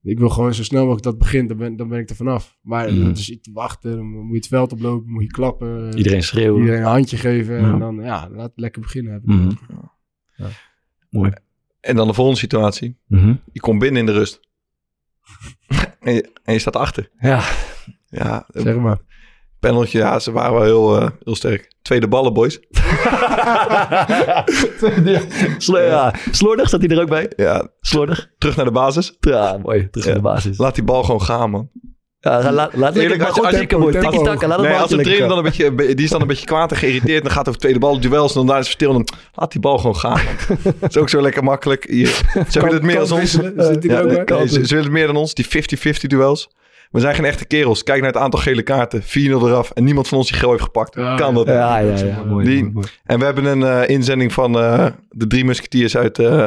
S5: Ik wil gewoon zo snel mogelijk dat het begint, dan ben, dan ben ik er vanaf. Maar
S1: Mhm.
S5: dat is iets te wachten, dan moet je het veld oplopen, moet je klappen.
S1: Iedereen schreeuwen. Mhm.
S5: iedereen een handje geven.
S1: Ja.
S5: En dan, ja, laat het lekker beginnen. Heb ik
S1: Mhm.
S5: Ja.
S1: Mooi.
S2: En dan de volgende situatie.
S1: Mhm.
S2: Je komt binnen in de rust. en, je, en je staat achter.
S1: Ja.
S2: Ja, een
S5: Zeg maar.
S2: paneltje. Ja, ze waren wel heel, eh, heel sterk. Tweede ballen, boys.
S1: Slo- ja. Slordig staat hij er ook bij.
S2: Ja,
S1: Slordig.
S2: terug naar de basis.
S1: Ja, mooi. Terug aan de basis.
S2: Laat die bal gewoon gaan, man.
S1: Ja, ga- laat, laat lekker
S2: Eerlijk,
S1: maar
S2: als je-
S1: gewoon
S2: als je-
S1: tikken, hoor.
S5: tempo-
S1: Tiki-taka, laat het
S2: Nee,
S1: maar
S2: als de
S1: lekker
S2: trainer dan
S1: gaan.
S2: een beetje, die is dan een beetje kwaad en geïrriteerd. En dan gaat over tweede bal, duels. En dan daar is het stil. En dan laat die bal gewoon gaan. Het is ook zo lekker makkelijk. Hier, ze willen het meer dan ons.
S5: Wisselen, zit hij er
S2: Ja,
S5: ook bij?
S2: nee, ze, ze willen het meer dan ons. Die 50-50 duels. We zijn geen echte kerels. Kijk naar het aantal gele kaarten. 4-0 eraf. En niemand van ons die geel heeft gepakt.
S5: Ja,
S2: kan
S5: ja.
S2: dat?
S1: Ja, ja, ja. Mooi.
S2: Die-
S1: mooi, mooi.
S2: En we hebben een eh, inzending van eh, de drie musketiers uit eh,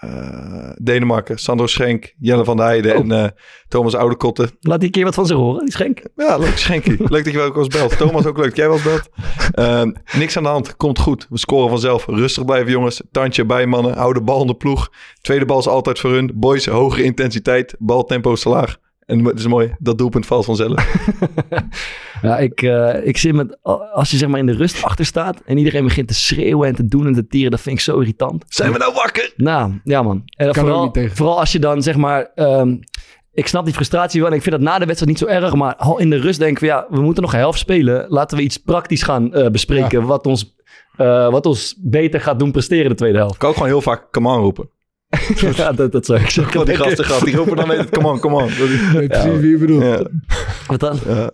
S2: eh, Denemarken. Sandro Schenk, Jelle van der Heijden en eh, Thomas Oudekotte.
S1: Laat die een keer wat van zich horen, die schenk.
S2: Ja, leuk Schenkie. Leuk dat je wel ook wel eens belt. Thomas ook leuk dat jij wel eens belt. Ehm, niks aan de hand. Komt goed. We scoren vanzelf. Rustig blijven jongens. Tandje bij mannen. Hou de bal in de ploeg. Tweede bal is altijd voor hun. Boys, hogere intensiteit. Baltempo is te laag. En het is mooi. Dat doelpunt valt vanzelf.
S1: Ja, ik, eh, ik zit met... Als je zeg maar in de rust achter staat en iedereen begint te schreeuwen en te doen en te tieren, dat vind ik zo irritant.
S2: Zijn we nou wakker?
S1: Nou, ja man. En dan
S5: Kan er ook
S1: vooral,
S5: niet tegen.
S1: vooral als je dan zeg maar... ehm, ik snap die frustratie wel en ik vind dat na de wedstrijd niet zo erg. Maar al in de rust denk ik van ja, we moeten nog een helft spelen. Laten we iets praktisch gaan eh, bespreken wat, ons, eh, wat ons beter gaat doen presteren de tweede helft.
S2: Ik kan ook gewoon heel vaak come on roepen.
S1: ja, dat, dat zou ik zeggen.
S2: Wat die gasten gaat. Die roepen dan weet het come on, come on. Dat is-
S5: Ik weet precies wie je bedoelt.
S2: Ja.
S1: Wat dan?
S2: Ja.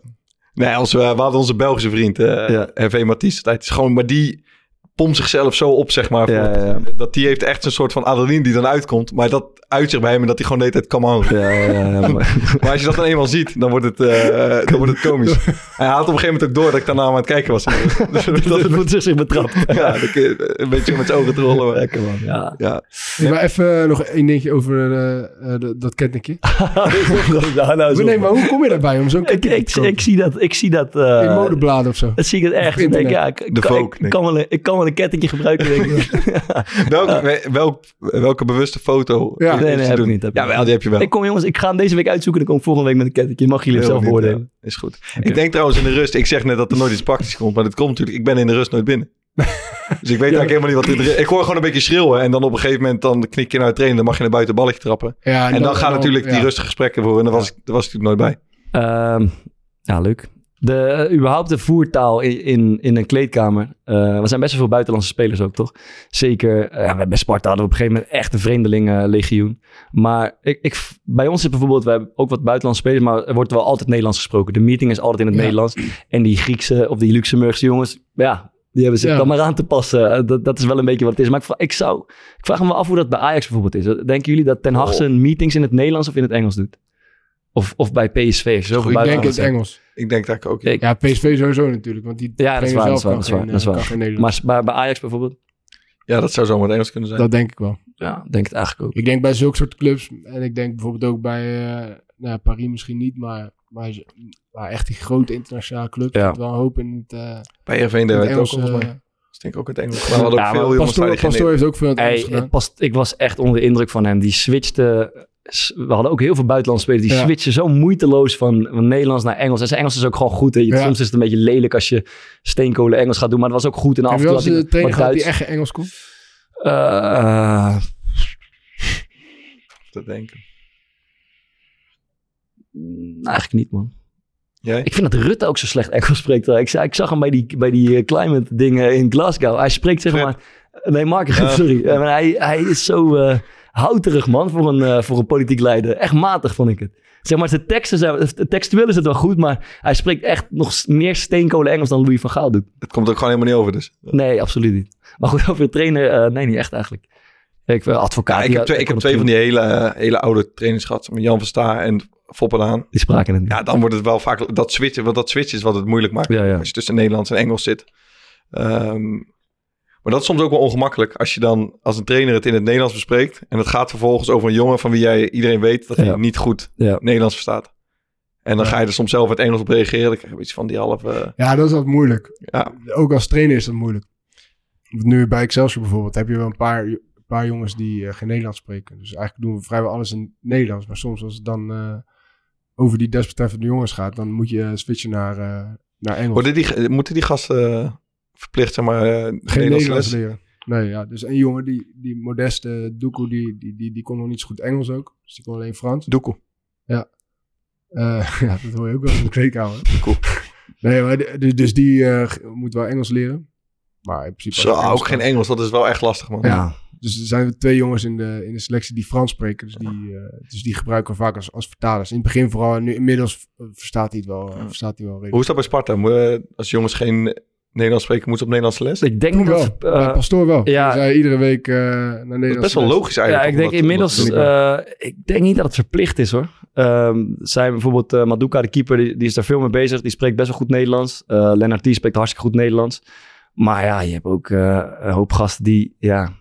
S2: Nee, als we, we hadden onze Belgische vriend, eh
S1: Ja.
S2: RV Matisse. Het is gewoon, maar die pompt zichzelf zo op, zeg maar.
S1: Ja,
S2: voor-
S1: ja, ja.
S2: Dat die heeft echt een soort van adrenaline die dan uitkomt. Maar dat uit zich bij hem en dat hij gewoon de hele tijd come on.
S1: Ja, ja, ja, ja, maar-
S2: Maar als je dat dan eenmaal ziet, dan wordt het, eh, dan wordt het komisch. Hij haalt op een gegeven moment ook door dat ik daarna aan het kijken was. Dus dat
S1: dat
S2: het,
S1: voelt zich zich betrapt.
S2: ja, dat ik, eh, een beetje met zijn ogen te rollen. maar-
S1: Ja.
S2: Ja,
S5: Nee, maar even eh, nog één dingetje over eh, eh, dat- dat ketnikje.
S1: ja, nou, zo.
S5: Nee, maar hoe kom je daarbij om zo'n
S1: ik,
S5: ketnikje
S1: ik,
S5: te kopen?
S1: ik zie dat. Ik zie dat eh,
S5: In modebladen of zo.
S1: dat zie ik het ergens. Ik denk, ja, ik, ik
S2: De
S1: kan,
S2: Vogue,
S1: ik
S2: denk
S1: kan wel een, ik kan wel een kettingje gebruiken. Denk ik.
S2: welke, welk, welke bewuste foto?
S5: Ja.
S2: is
S1: nee,
S2: te
S1: nee, heb ik
S2: doen?
S1: niet. Heb ik
S2: Ja, wel, die heb je wel.
S1: Ik kom jongens, ik ga hem deze week uitzoeken. Dan kom ik volgende week met een kettingje. Mag jullie het
S2: Heel
S1: zelf
S2: niet,
S1: beoordelen.
S2: ja. Is goed. Ik denk trouwens in de rust, ik zeg net dat er nooit iets praktisch komt, maar dat komt natuurlijk, ik ben in de rust nooit binnen. Dus ik weet eigenlijk helemaal niet wat dit er- Ik hoor gewoon een beetje schreeuwen en dan op een gegeven moment dan knik je naar het trainen, dan mag je een buitenballetje trappen.
S5: Ja,
S2: En, dan, gaan natuurlijk die
S5: ja.
S2: rustige gesprekken voor en daar was, ik- daar was ik natuurlijk nooit bij.
S1: Ehm, ja, leuk. De, eh, überhaupt de voertaal in, in, in een kleedkamer. Eh we zijn best wel veel buitenlandse spelers ook, toch? Zeker, eh, ja, bij Sparta hadden we op een gegeven moment echt een vreemdelingenlegioen. Maar ik, ik, bij ons is bijvoorbeeld, we hebben ook wat buitenlandse spelers, maar er wordt wel altijd Nederlands gesproken. De meeting is altijd in het
S5: Ja.
S1: Nederlands. En die Griekse of die Luxemburgse jongens, ja, die hebben zich
S5: Ja.
S1: dan maar aan te passen. Eh, Dat, dat is wel een beetje wat het is. Maar ik, vra- ik, zou, ik vraag me wel af hoe dat bij Ajax bijvoorbeeld is. Denken jullie dat Ten Hag
S2: Oh.
S1: zijn meetings in het Nederlands of in het Engels doet? Of, of bij PSV? Of zo,
S2: Goeie
S5: Ik denk
S1: buitenlandse-
S5: het Engels.
S2: Ik denk dat ik ook.
S1: Ja, ik-
S5: Ja, PSV sowieso natuurlijk. Want die
S1: Ja, dat is
S5: trainer
S1: waar, dat
S5: zelf
S1: is waar,
S5: kan
S1: dat is waar,
S5: geen,
S1: dat is
S5: eh,
S1: waar.
S5: kan geen Nederlands.
S1: Maar bij, bij Ajax bijvoorbeeld?
S2: Ja, dat zou zomaar het Engels kunnen zijn.
S5: Dat denk ik wel.
S1: Ja, denk het eigenlijk ook.
S5: Ik denk bij zulke soort clubs. En ik denk bijvoorbeeld ook bij eh, nou, ja, Paris misschien niet. Maar, maar, ze- maar echt die grote internationale clubs.
S1: Ja.
S5: zit wel een hoop in het, eh, in
S2: Bij RV in de werd
S5: het
S2: ook
S5: Engels.
S2: volgens mij.
S5: eh,
S2: Dat is denk ik ook het Engels. Maar we hadden ook
S1: Ja, maar
S2: veel jongens waar
S5: Pastoor,
S2: die geen-
S5: Pastoor heeft ook veel in het Engels gedaan.
S1: past, ik was echt onder de indruk van hem. Die switchte... s- We hadden ook heel veel buitenlandse spelers. Die
S5: Ja.
S1: switchen zo moeiteloos van, van Nederlands naar Engels. En zijn Engels is ook gewoon goed. Hè. Je-
S5: Ja.
S1: Soms is het een beetje lelijk als je steenkolen Engels gaat doen. Maar dat was ook goed. En af
S5: Heb
S1: en
S5: je
S1: toe
S5: wel
S1: had
S5: eens
S1: hij
S5: een
S1: wat- wat
S5: trainer gehad die
S1: Duits.
S5: echt geen Engels kon?
S1: Eh,
S2: Dat denk ik.
S1: mm, eigenlijk niet, man.
S2: Jij?
S1: Ik vind dat Rutte ook zo slecht Engels spreekt. hè. Ik, zei- ik zag hem bij die, bij die eh, climate dingen in Glasgow. Hij spreekt zeg
S2: Fred.
S1: maar... Nee, Mark,
S2: Ja.
S1: sorry. Eh, maar hij, hij is zo eh, houterig, man, voor een, eh, voor een politiek leider. Echt matig, vond ik het. Zeg maar, zijn teksten zijn... Textueel is het wel goed, maar hij spreekt echt nog s- meer steenkolen Engels dan Louis van Gaal doet.
S2: Het komt ook gewoon helemaal niet over dus.
S1: Nee, absoluut niet. Maar goed, over de trainer... eh, nee, niet echt eigenlijk. Ik ben advocaat.
S2: Ja, Nou, ik
S1: die-
S2: heb twee, ik
S1: kon
S2: heb
S1: het
S2: twee van
S1: doen.
S2: die hele, eh, hele oude trainers gehad. Met Jan van Staar en Foppelaan.
S1: Die spraken het niet.
S2: Ja, dan wordt het wel vaak dat switchen, want dat switchen is wat het moeilijk maakt.
S1: Ja, ja.
S2: Als je tussen Nederlands en Engels zit. Ehm, maar dat is soms ook wel ongemakkelijk. Als je dan als een trainer het in het Nederlands bespreekt. En het gaat vervolgens over een jongen van wie jij iedereen weet dat hij
S1: Ja.
S2: niet goed
S1: Ja.
S2: Nederlands verstaat. En dan ga je er soms zelf in het Engels op reageren. Dan krijg je een beetje van die half. eh,
S5: Ja, dat is altijd moeilijk.
S2: Ja.
S5: Ook als trainer is dat moeilijk. Want Nu bij Excelsior bijvoorbeeld heb je wel een paar, een paar jongens die eh, geen Nederlands spreken. Dus eigenlijk doen we vrijwel alles in Nederlands. Maar soms als het dan eh, over die desbetreffende jongens gaat, dan moet je eh, switchen naar, eh, naar Engels.
S2: worden die, moeten die gasten verplicht, zeg maar, eh,
S5: geen
S2: Nederlands
S5: Nederlands
S2: les?
S5: leren. Nee, ja. Dus een jongen, die, die modeste Doekoe, die, die, die, die kon nog niet zo goed Engels ook. Dus die kon alleen Frans.
S2: Doekoe.
S5: Eh, ja, dat hoor je ook wel in de kleedkamer.
S2: Cool.
S5: Nee, maar de- de- dus die eh, g- moet wel Engels leren. Maar in principe...
S2: Zo,
S5: als je Engels
S2: ook geen
S5: kan-
S2: Engels. Dat is wel echt lastig, man.
S1: Ja.
S5: Dus er zijn twee jongens in de, in de selectie die Frans spreken. Dus die, eh, dus die gebruiken we vaak als, als vertalers. In het begin vooral. En nu inmiddels eh, verstaat hij het wel, eh, verstaat hij wel redelijk.
S2: Hoe is dat bij Sparta? Moet, eh, Als jongens geen Nederlands spreken, moeten ze op Nederlandse les?
S1: Ik denk
S5: Toen wel.
S1: dat... eh,
S5: Bij Pastoor wel.
S1: ja.
S5: Dus hij iedere week eh, naar
S2: Dat is
S5: Nederland.
S2: best wel logisch
S1: ja, ik
S2: eigenlijk.
S1: denk
S2: om dat-
S1: inmiddels...
S2: om dat te doen.
S1: eh, ik denk niet dat het verplicht is, hoor. Ehm zijn bijvoorbeeld eh, Maduka, de keeper, die, die is daar veel mee bezig. Die spreekt best wel goed Nederlands. Eh Lennart T spreekt hartstikke goed Nederlands. Maar ja, je hebt ook eh, een hoop gasten die... Ja,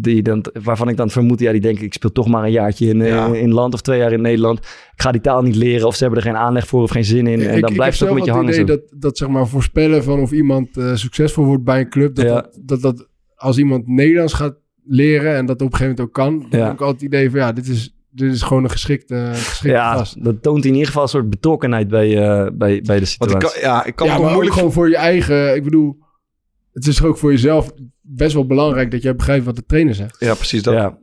S1: die dan, waarvan ik dan vermoed, ja, die denken... ik speel toch maar een jaartje in, eh,
S2: Ja.
S1: in, land of twee jaar in Nederland. Ik ga die taal niet leren of ze hebben er geen aanleg voor of geen zin in. en dan blijft het ook met je hangen.
S5: Ik
S1: zo.
S5: heb zelf altijd het idee dat, dat zeg maar voorspellen van of iemand eh, succesvol wordt bij een club. Dat,
S1: Ja.
S5: dat, dat, dat als iemand Nederlands gaat leren en dat op een gegeven moment ook kan. Dan
S1: Ja.
S5: heb ik altijd het idee van ja, dit is, dit is gewoon een geschikte, geschikte
S1: Ja,
S5: gast.
S1: dat toont in ieder geval een soort betrokkenheid bij, eh, bij, bij de
S2: Want ik
S1: situatie.
S2: kan, ja, ik kan
S5: ja,
S2: het
S5: maar
S2: toch moeilijk...
S5: ook gewoon voor je eigen. Ik bedoel, het is toch ook voor jezelf best wel belangrijk dat jij begrijpt wat de trainer zegt.
S2: Ja, precies dat.
S1: ja,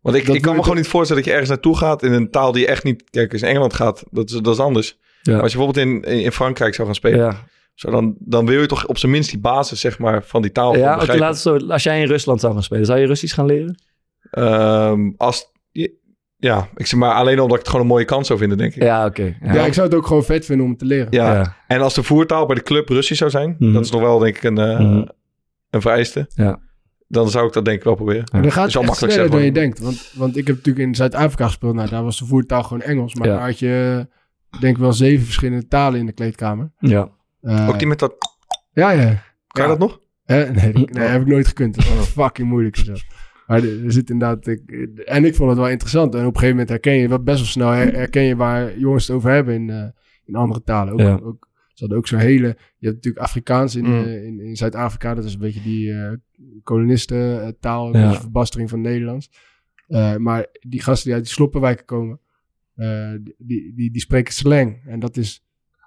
S2: Want ik,
S5: Dat
S2: ik kan me
S5: wordt-
S2: gewoon niet voorstellen dat je ergens naartoe gaat in een taal die je echt niet... Kijk, als je in Engeland gaat, dat is, dat is anders.
S1: Ja.
S2: Maar als je bijvoorbeeld in, in in Frankrijk zou gaan spelen,
S1: ja.
S2: zo dan, dan wil je toch op zijn minst die basis zeg maar, van die taal
S1: Ja,
S2: ja,
S1: oké, laat het zo, als jij in Rusland zou gaan spelen, zou je Russisch gaan leren?
S2: Ehm, als, ja, ik zeg maar alleen omdat ik het gewoon een mooie kans zou vinden, denk ik.
S1: Ja, oké.
S5: Ja,
S1: Ja.
S5: ik zou het ook gewoon vet vinden om te leren.
S2: Ja.
S1: Ja.
S2: En als de voertaal bij de club Russisch zou zijn,
S1: Mhm.
S2: dat is nog wel denk ik een, eh,
S1: Mhm.
S2: een vereiste.
S1: Ja.
S2: Dan zou ik dat denk ik wel proberen.
S5: En dan
S2: Is
S5: gaat
S2: wel
S5: het echt
S2: makkelijk
S5: sneller dan je
S2: zeggen,
S5: denkt. Want, want ik heb natuurlijk in Zuid-Afrika gespeeld. Nou, daar was de voertaal gewoon Engels. Maar
S1: Ja.
S5: daar had je eh, denk ik wel zeven verschillende talen in de kleedkamer.
S1: Ja.
S5: Eh,
S2: Ook die met dat...
S5: Ja, ja.
S2: Kan je
S5: Ja.
S2: dat nog?
S5: Hè? Nee, die- nee, heb ik nooit gekund. Dat is fucking moeilijk. en Zo. Maar er er zit inderdaad... ik- en ik vond het wel interessant. En op een gegeven moment herken je... wel Best wel snel her- herken je waar jongens het over hebben in, eh, in andere talen. Ook,
S1: Ja.
S5: ook, ze hadden ook zo'n hele... Je hebt natuurlijk Afrikaans in,
S2: Mm.
S5: eh, in, in Zuid-Afrika. Dat is een beetje die eh kolonistentaal. Een
S1: Ja.
S5: beetje verbastering van het Nederlands. Eh, maar die gasten die uit die sloppenwijken komen... eh, die, die, die, die spreken slang. En dat is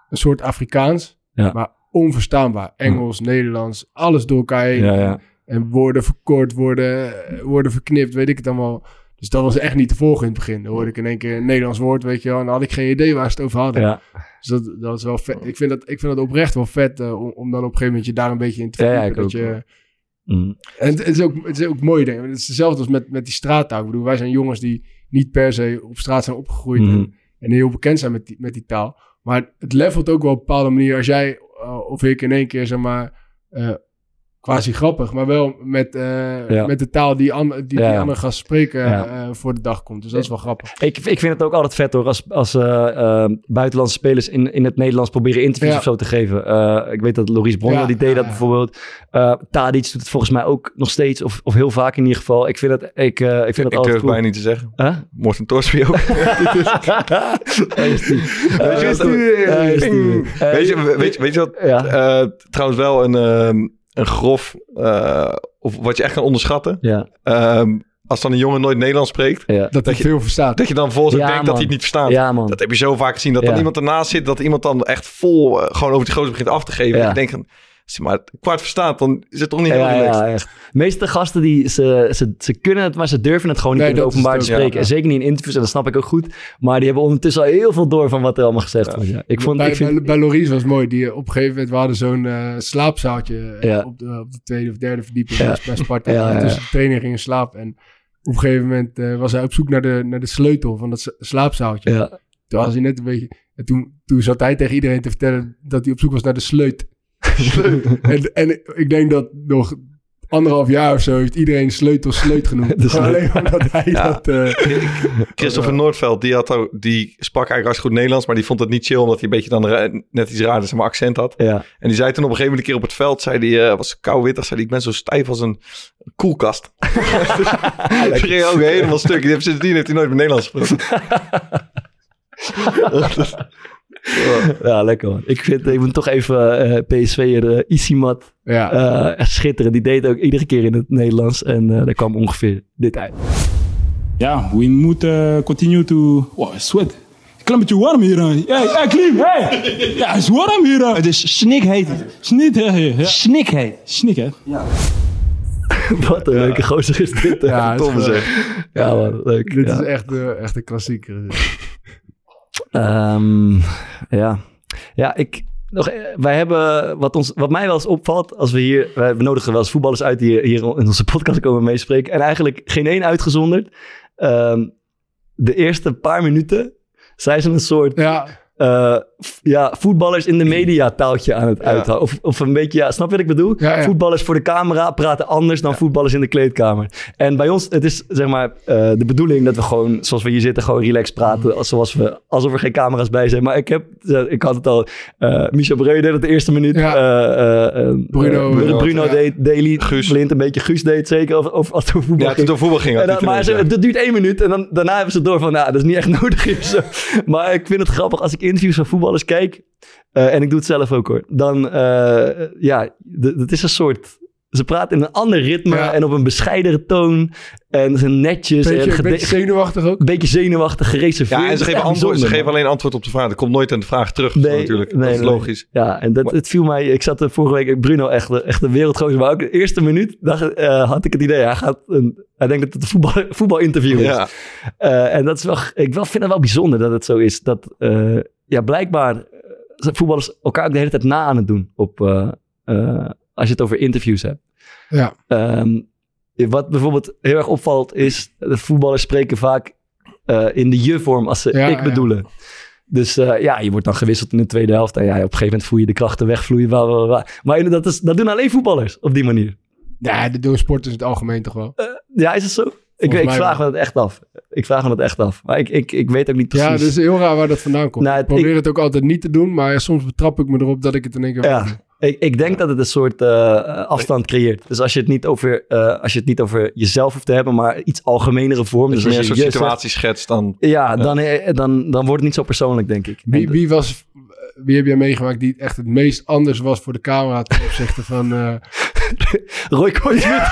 S5: een soort Afrikaans...
S1: Ja.
S5: Maar onverstaanbaar. Engels, Nederlands, alles door elkaar heen.
S1: Ja, ja.
S5: En woorden verkort, woorden, eh, woorden verknipt, weet ik het allemaal. Dus dat was echt niet te volgen in het begin. Dan hoorde ik in één keer een Nederlands woord, weet je wel. En dan had ik geen idee waar ze het over hadden.
S1: Ja.
S5: Dus dat, dat is wel vet. Ik vind dat, ik vind dat oprecht wel vet eh, om, om dan op een gegeven moment je daar een beetje in te
S1: Ja, ja,
S5: verdiepen,
S1: ik
S5: dat
S1: ook.
S5: je,
S1: Mm.
S5: en het, het is ook, het is ook mooi, denk ik. Het is hetzelfde als met, met die straattaal. Ik bedoel, wij zijn jongens die niet per se op straat zijn opgegroeid
S1: Mhm.
S5: en, en heel bekend zijn met die, met die taal. Maar het levelt ook wel op een bepaalde manier als jij eh, of ik in één keer, zeg maar, eh, quasi grappig, maar wel met, eh,
S1: Ja.
S5: met de taal die, an- die,
S1: Ja.
S5: die andere gast spreken
S1: Ja.
S5: eh, voor de dag komt. Dus dat is wel grappig.
S1: Ik, ik vind het ook altijd vet hoor, als, als eh, eh, buitenlandse spelers in, in het Nederlands proberen interviews
S5: Ja.
S1: of zo te geven. Eh, ik weet dat Loris Bronja,
S5: Ja,
S1: die deed
S5: ja,
S1: dat
S5: ja.
S1: bijvoorbeeld. Eh Tadic doet het volgens mij ook nog steeds, of, of heel vaak in ieder geval. Ik vind dat, ik, eh, ik vind dat
S2: Ik durf
S1: altijd
S2: het
S1: cool.
S2: bijna niet te zeggen.
S1: Huh?
S2: Morten Torsby ook.
S1: Daar is die.
S2: Weet je,
S1: Eh,
S2: is die weer?
S1: daar is die weer.
S2: Ping. Weet je, weet, je- weet je wat?
S1: Ja.
S2: eh, trouwens wel een, ehm, een grof, eh, of wat je echt kan onderschatten.
S1: Ja.
S2: Ehm, als dan een jongen nooit Nederlands spreekt,
S1: Ja.
S5: Dat, hij
S2: je-
S5: veel verstaat.
S2: dat je dan volgens
S1: Ja,
S2: denkt dat
S1: man.
S2: hij het niet verstaat.
S1: ja, man.
S2: Dat heb je zo vaak gezien. Dat
S1: Ja.
S2: dan iemand ernaast zit, dat iemand dan echt vol eh, gewoon over die gozer begint af te geven.
S1: Ja.
S2: En ik denk, van, als hij maar een kwart verstaat, dan is het toch niet heel
S1: Ja,
S2: relaxed.
S1: ja, echt. De meeste gasten die ze, ze, ze kunnen het, maar ze durven het gewoon niet
S5: Nee,
S1: in het
S5: dat is
S1: openbaar te
S5: het ook,
S1: spreken. En
S5: ja.
S1: zeker niet in interviews, en dat snap ik ook goed. Maar die hebben ondertussen al heel veel door van wat er allemaal gezegd wordt. Ja. Ik vond,
S5: bij,
S1: ik vind,
S5: bij, bij Lories was het mooi. Die, eh, op een gegeven moment, we hadden zo'n eh, slaapzaaltje eh,
S1: Ja.
S5: op, de, op de tweede of derde verdieping
S1: Ja.
S5: bij- bij Sparta.
S1: Ja, ja, ja.
S5: Tussen de trainer ging in slaap. En op een gegeven moment eh, was hij op zoek naar de, naar de sleutel van dat s- slaapzaaltje.
S1: ja,
S5: Toen was hij net een beetje... En toen, toen zat hij tegen iedereen te vertellen dat hij op zoek was naar de sleut. en, en ik denk dat nog anderhalf jaar of zo heeft iedereen sleutel sleut genoemd.
S1: De sleut.
S5: Alleen omdat hij
S2: Ja.
S5: dat... eh,
S2: Christopher Noordveld, die, had, ook- die sprak eigenlijk hartstikke goed Nederlands, maar die vond het niet chill, omdat hij een beetje dan ra- net iets raarder zeg maar, accent had.
S1: ja.
S2: En die zei toen op een gegeven moment een keer op het veld, zei die, eh, was kouwittig, zei die, ik ben zo stijf als een koelkast. dus, die ging ook helemaal stuk. Die heeft, sindsdien heeft hij nooit meer Nederlands gesproken.
S1: ja, lekker man. Ik, vind, ik moet toch even eh PSV'er eh, Isimat
S5: ja.
S1: eh, echt schitteren. Die deed ook iedere keer in het Nederlands. En eh, daar kwam ongeveer dit uit.
S7: Ja, we moeten eh, continue to... Wow, sweat. Klein beetje warm hier. hè. Hey, hey, Klim, hey. Ja, het is warm hier. Het is snikheet. Snikheet. Snikheet. Snikheet.
S1: Wat een leuke gozer is dit. hè?
S5: Ja, het is
S2: Tom
S5: wel-
S2: zeg.
S1: Ja, man, leuk.
S5: Dit
S1: ja.
S5: is echt, eh, echt een klassieker.
S1: Ehm, ja. ja, ik. Nog, eh, wij hebben, wat, ons, wat mij wel eens opvalt, als we hier, wij nodigen wel eens voetballers uit die hier in onze podcast komen meespreken. En eigenlijk geen één uitgezonderd. Ehm, de eerste paar minuten zijn ze een soort
S5: Ja,
S1: eh, f- ja, voetballers in de media taaltje aan het uithalen. Of, of een beetje, ja, snap je wat ik bedoel?
S5: Ja, ja.
S1: Voetballers voor de camera praten anders dan voetballers in de kleedkamer. En bij ons, het is zeg maar eh, de bedoeling dat we gewoon, zoals we hier zitten, gewoon relaxed
S5: Mhm.
S1: praten. als- Zoals we, alsof er geen camera's bij zijn. Maar ik heb, eh, ik had het al, eh Michel Breu deed het de eerste minuut.
S5: Ja.
S1: eh, eh, eh,
S5: Bruno-
S1: eh, Bruno,
S5: Bruno, ja.
S1: deed, Daily,
S2: Guus.
S1: Blind een beetje, Guus deed zeker, of, of als het over voetbal
S2: Ja, toen
S1: ging.
S2: het om voetbal
S1: En
S2: ging. had
S1: dan-
S2: hij
S1: maar
S2: toen
S1: ze-
S2: eens,
S1: dat duurt één minuut en dan, daarna hebben ze door van, nou, dat is niet echt nodig. Is. zo. maar ik vind het grappig als ik interviews van voetballers kijk, eh, en ik doe het zelf ook hoor, dan, eh, ja, d- dat is een soort... Ze praten in een ander ritme
S5: Ja.
S1: en op een bescheidere toon. En ze zijn netjes. en Dus,
S5: beetje,
S1: eh, gede-
S5: beetje zenuwachtig ook.
S1: een beetje zenuwachtig, gereserveerd.
S2: ja. ja,
S1: Dat
S2: en ze
S1: is
S2: geven,
S1: echt
S2: antwoord, ze
S1: bijzonder,
S2: geven alleen antwoord op de vraag. Er komt nooit aan de vraag terug,
S1: Nee,
S2: natuurlijk.
S1: nee,
S2: dat is
S1: nee.
S2: logisch.
S1: Ja, en dat,
S2: Maar-
S1: het viel mij... Ik zat er vorige week... Bruno, echt, de- echt een wereldgozer. Maar ook de eerste minuut dacht, eh, had ik het idee... Hij, gaat een, hij denkt dat het een voetbal, voetbalinterview is.
S2: Ja.
S1: Eh, en dat is wel... Ik wel, vind het wel bijzonder dat het zo is. Dat eh, ja, blijkbaar eh, zijn voetballers elkaar ook de hele tijd na aan het doen. Op, eh, eh, als je het over interviews hebt.
S5: Ja.
S1: Ehm, wat bijvoorbeeld heel erg opvalt is... De voetballers spreken vaak eh, in de je-vorm als ze
S5: Ja,
S1: ik
S5: ja.
S1: bedoelen. Dus eh, ja, je wordt dan gewisseld in de tweede helft. En ja, op een gegeven moment voel je de krachten wegvloeien. Bla, bla, bla. Maar inderdaad, dat, is, dat doen alleen voetballers op die manier.
S5: Ja, dat doen sporters in het algemeen toch wel.
S1: Ja, is het zo? Ik,
S5: Volgens
S1: ik
S5: mij
S1: vraag me
S5: wel.
S1: dat echt af. Ik vraag me dat echt af. Maar ik, ik, ik weet ook niet precies.
S5: Ja, dus dat is heel raar waar dat vandaan komt.
S1: Nou,
S5: ik
S1: het-
S5: probeer het ook altijd niet te doen, maar ja, soms betrap ik me erop dat ik het in één keer...
S1: Ja, ik, ik denk dat het een soort eh, afstand creëert. Dus als je, het niet over, eh, als je het niet over jezelf hoeft te hebben, maar iets algemenere vorm.
S2: Dus
S1: Dus
S2: meer
S1: als
S2: een
S1: je
S2: soort
S1: je zegt-
S2: situatie schetst dan...
S1: Ja, dan, eh, dan, dan wordt het niet zo persoonlijk, denk ik.
S5: Wie,
S1: En-
S5: wie, was, wie heb jij meegemaakt die echt het meest anders was voor de camera ten opzichte van... eh,
S1: Roy Kortsmit.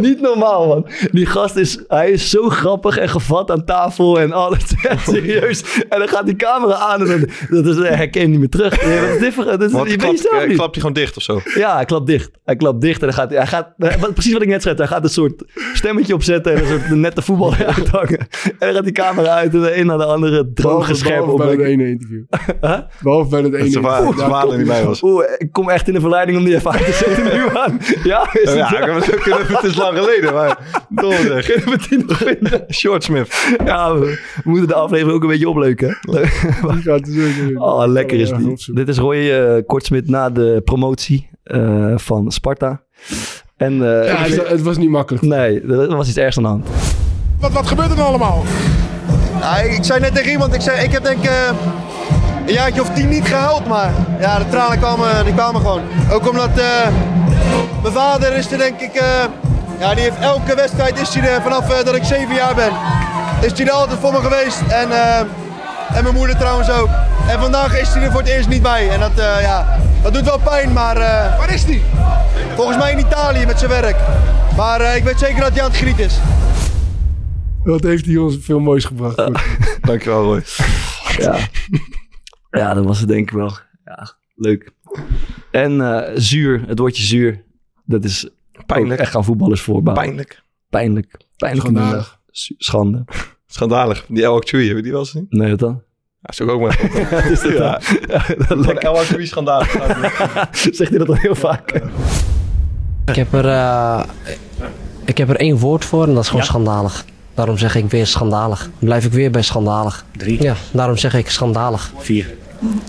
S1: Niet normaal, man. Die gast is, hij is zo grappig en gevat aan tafel en alles. Echt Serieus. En dan gaat die camera aan en dan, dat is, hij kijkt niet meer terug. Nee, dat is different. Dat is,
S2: Want
S1: je
S2: klapt,
S1: weet zelf
S2: eh,
S1: niet.
S2: klapt hij gewoon dicht of zo?
S1: Ja, hij klapt dicht. Hij klapt dicht en dan gaat hij... hij gaat, eh, wat- precies wat ik net zei. Hij gaat een soort stemmetje opzetten en een soort nette voetballer uithangen. En dan gaat die camera uit en de een naar de andere droge
S5: behalve-
S1: scherm
S5: behalve
S1: op.
S5: bij het ene interview.
S1: Huh?
S5: Behalve bij het ene
S2: Dat ze
S5: interview.
S2: waren
S5: Daar
S2: waar
S5: komt
S2: niet bij was.
S1: Oeh, ik kom echt in de verleiding om die even uit te zetten nu aan. Ja, is het
S2: Ja,
S1: zo?
S2: ik heb het ook kunnen- het is lang geleden, maar... Dol zeg. Short Smith.
S1: Ja, we, we moeten de aflevering ook een beetje opleuken. hè?
S5: die gaat er zo in.
S1: Oh, lekker is
S5: Ja,
S1: die.
S5: opzoeken.
S1: Dit is Roy eh, Kortsmit na de promotie eh, van Sparta. En eh,
S5: Ja, het, het was niet makkelijk.
S1: nee, er was iets ergs aan de hand.
S8: Wat, wat gebeurt er nou allemaal? ik zei net tegen iemand, ik, zei, ik heb denk ik een jaartje of tien niet gehuild, maar ja, de tranen kwamen, die kwamen gewoon. Ook omdat eh, mijn vader is er denk ik, eh, ja, die heeft elke wedstrijd is hij er vanaf eh, dat ik zeven jaar ben. Is hij er altijd voor me geweest en, eh, en mijn moeder trouwens ook. En vandaag is hij er voor het eerst niet bij en dat, eh, ja, dat doet wel pijn, maar... Waar is hij? Volgens mij in Italië met zijn werk. Maar eh, ik weet zeker dat hij aan het griet is.
S5: Wat heeft hij ons veel moois gebracht.
S2: Eh. Dankjewel, Roy.
S1: Ja. ja, dat was het denk ik wel. Ja, leuk. En eh, zuur, het woordje zuur. Dat is
S2: Pijnlijk.
S1: ook Oh, echt aan voetballers voorbouwen.
S2: Pijnlijk.
S1: Pijnlijk. Pijnlijk.
S5: Schandalig.
S1: middag. Zu- Schande.
S2: Schandalig. Die El Achui, hebben we die wel eens gezien?
S1: Nee, wat dan?
S2: Ja, is ook ook maar...
S1: Is dat
S2: Ja.
S1: dan?
S2: Gewoon
S1: Lekker.
S2: El Achui schandalig.
S1: Zegt hij dat al heel vaak?
S9: Ik heb er, eh, ik heb er één woord voor en dat is gewoon schandalig. Daarom zeg ik weer schandalig. Dan blijf ik weer bij schandalig. Drie? Ja, daarom zeg ik schandalig. Vier?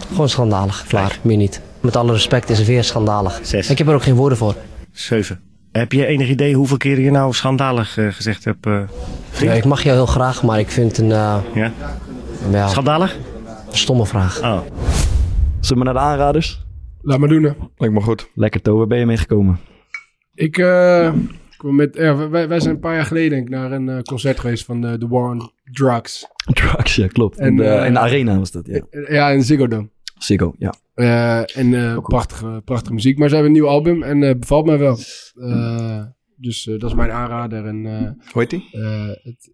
S9: Gewoon schandalig, klaar, meer niet. Met alle respect is het weer schandalig.
S10: Zes.
S9: Ik heb er ook geen woorden voor.
S10: 7. Heb je enig idee hoeveel keer je nou schandalig eh, gezegd hebt? eh?
S9: Ja, ik mag jou heel graag, maar ik vind een eh,
S10: ja?
S9: ja,
S10: Schandalig?
S9: een stomme vraag.
S10: Oh.
S1: Zullen we naar de aanraders?
S5: Laat maar doen. hè.
S2: Lijkt me goed.
S1: Lekker, Tover, ben je meegekomen?
S5: Ik eh, kwam met... ja, wij, wij zijn een paar jaar geleden denk ik, naar een eh, concert geweest van eh, The War on Drugs.
S1: Drugs, ja, klopt.
S5: En,
S1: in, de,
S5: eh,
S1: in de arena was dat, ja.
S5: Eh, Ja, in Ziggo Dome.
S1: Ziggo, ja.
S5: Eh, en eh, prachtige, prachtige muziek. Maar ze hebben een nieuw album en eh, bevalt mij wel. Eh, dus eh, dat is mijn aanrader. En eh,
S2: Hoe heet die?
S5: eh, het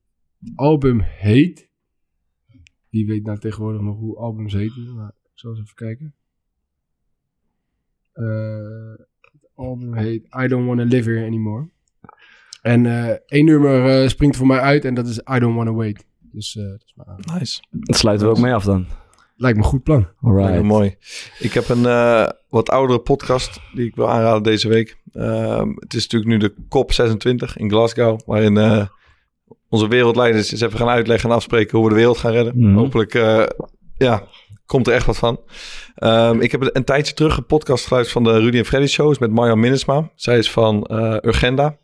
S5: album heet... Wie weet nou tegenwoordig nog hoe albums heten. Maar ik zal eens even kijken. Eh, het album heet I Don't Wanna Live Here Anymore. En eh, één nummer eh, springt voor mij uit en dat is I Don't Wanna Wait. Dus eh, dat is maar,
S2: Nice.
S1: Dat sluiten we ook mee af dan.
S5: lijkt me een goed plan.
S2: Heel
S1: Alright.
S2: mooi. Ik heb een eh, wat oudere podcast die ik wil aanraden deze week. Ehm, het is natuurlijk nu de COP26 in Glasgow, waarin eh, onze wereldleiders eens even gaan uitleggen en afspreken hoe we de wereld gaan redden.
S1: Mhm.
S2: Hopelijk eh, ja, komt er echt wat van. Ehm, ik heb een tijdje terug een podcast geluisterd van de Rudy en Freddy shows met Marjan Minnesma. Zij is van eh, Urgenda.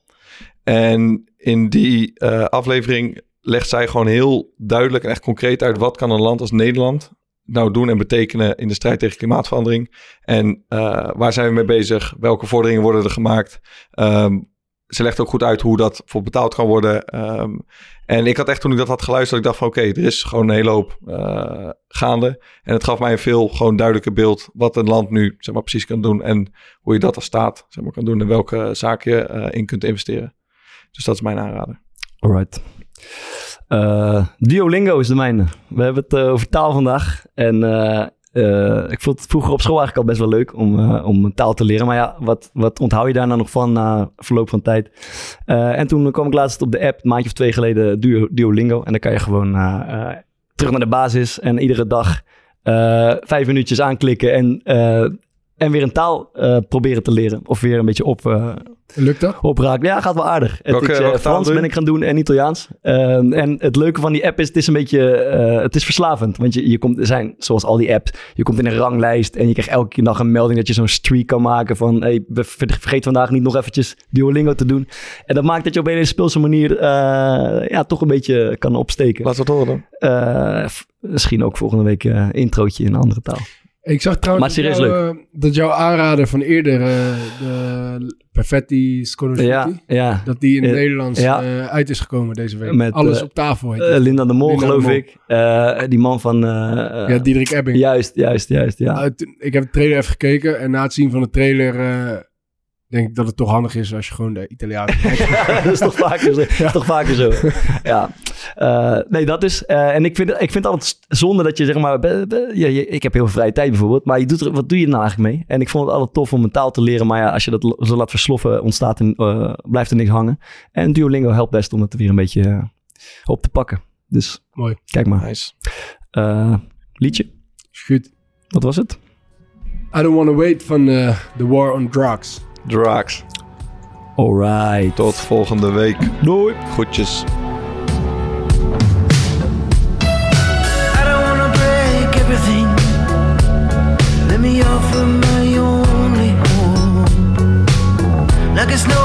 S2: En in die eh, aflevering legt zij gewoon heel duidelijk en echt concreet uit wat kan een land als Nederland nou doen en betekenen in de strijd tegen klimaatverandering. En eh, waar zijn we mee bezig? Welke vorderingen worden er gemaakt? Ehm, ze legt ook goed uit hoe dat voor betaald kan worden. Ehm, en ik had echt toen ik dat had geluisterd, ik dacht van oké, er is gewoon een hele hoop eh, gaande. En het gaf mij een veel gewoon duidelijker beeld wat een land nu zeg maar, precies kan doen en hoe je dat als staat zeg maar, kan doen en welke zaak je eh, in kunt investeren. Dus dat is mijn aanrader.
S1: Alright. Eh, Duolingo is de mijne. We hebben het eh, over taal vandaag. En eh, eh, ik vond het vroeger op school eigenlijk al best wel leuk om, eh, om een taal te leren. Maar ja, wat, wat onthoud je daar nou nog van na verloop van tijd? Eh, en toen kwam ik laatst op de app, een maandje of twee geleden, Duo- Duolingo. En dan kan je gewoon eh, eh, terug naar de basis en iedere dag eh, vijf minuutjes aanklikken en, eh, en weer een taal eh, proberen te leren. Of weer een beetje op, eh,
S5: Lukt dat?
S1: opraakt. Ja, gaat wel aardig. Het,
S2: Welke-
S1: ik, eh,
S2: welke taal
S1: Frans
S2: doe je?
S1: ben ik gaan doen en Italiaans. Ehm, en het leuke van die app is, het is een beetje, eh, het is verslavend. Want je, je komt, er zijn, zoals al die apps, je komt in een ranglijst en je krijgt elke dag een melding dat je zo'n streak kan maken van, hey, we ver- vergeet vandaag niet nog eventjes Duolingo te doen. En dat maakt dat je op een hele speelse manier, eh, ja, toch een beetje kan opsteken.
S2: Laten we het horen dan.
S1: Eh, f- misschien ook volgende week eh introotje in een andere taal.
S5: Ik zag trouwens
S1: Maar
S5: dat,
S1: serieus
S5: jouw, eh, dat jouw aanrader van eerder, eh, de Perfetti Sconosciuti,
S1: Ja, ja.
S5: dat die in het
S1: Eh,
S5: Nederlands
S1: ja.
S5: eh, uit is gekomen deze week.
S1: Met,
S5: Alles
S1: eh,
S5: op tafel heet
S1: Eh,
S5: het.
S1: Linda de Mol,
S5: Linda de
S1: geloof
S5: Mol.
S1: ik. Eh, die man van... eh, eh,
S5: ja, Diederik Ebbing.
S1: juist, juist, juist. Ja.
S5: Nou, toen- ik heb de trailer even gekeken en na het zien van de trailer eh, denk ik dat het toch handig is als je gewoon de Italiaan
S1: dat is toch vaker zo. is toch vaker zo. Ja. Eh, nee, dat is. eh, en ik vind, ik vind het altijd st- zonde dat je zeg maar. be- be- je- je- ik heb heel veel vrije tijd bijvoorbeeld. Maar je doet er, wat doe je er nou eigenlijk mee? En ik vond het altijd tof om een taal te leren. Maar ja, als je dat lo- zo laat versloffen, ontstaat en, blijft er niks hangen. En Duolingo helpt best om het weer een beetje eh, op te pakken. Dus
S5: Mooi.
S1: kijk maar.
S2: Nice.
S1: Eh, liedje,
S5: Goed.
S1: wat was het?
S5: I don't wanna wait van eh, The War on Drugs.
S2: Drugs.
S1: Alright.
S2: Tot volgende week.
S1: Doei.
S2: Goedjes.
S6: I don't wanna break everything. Let me offer my only home. Like it's no
S9: Oh,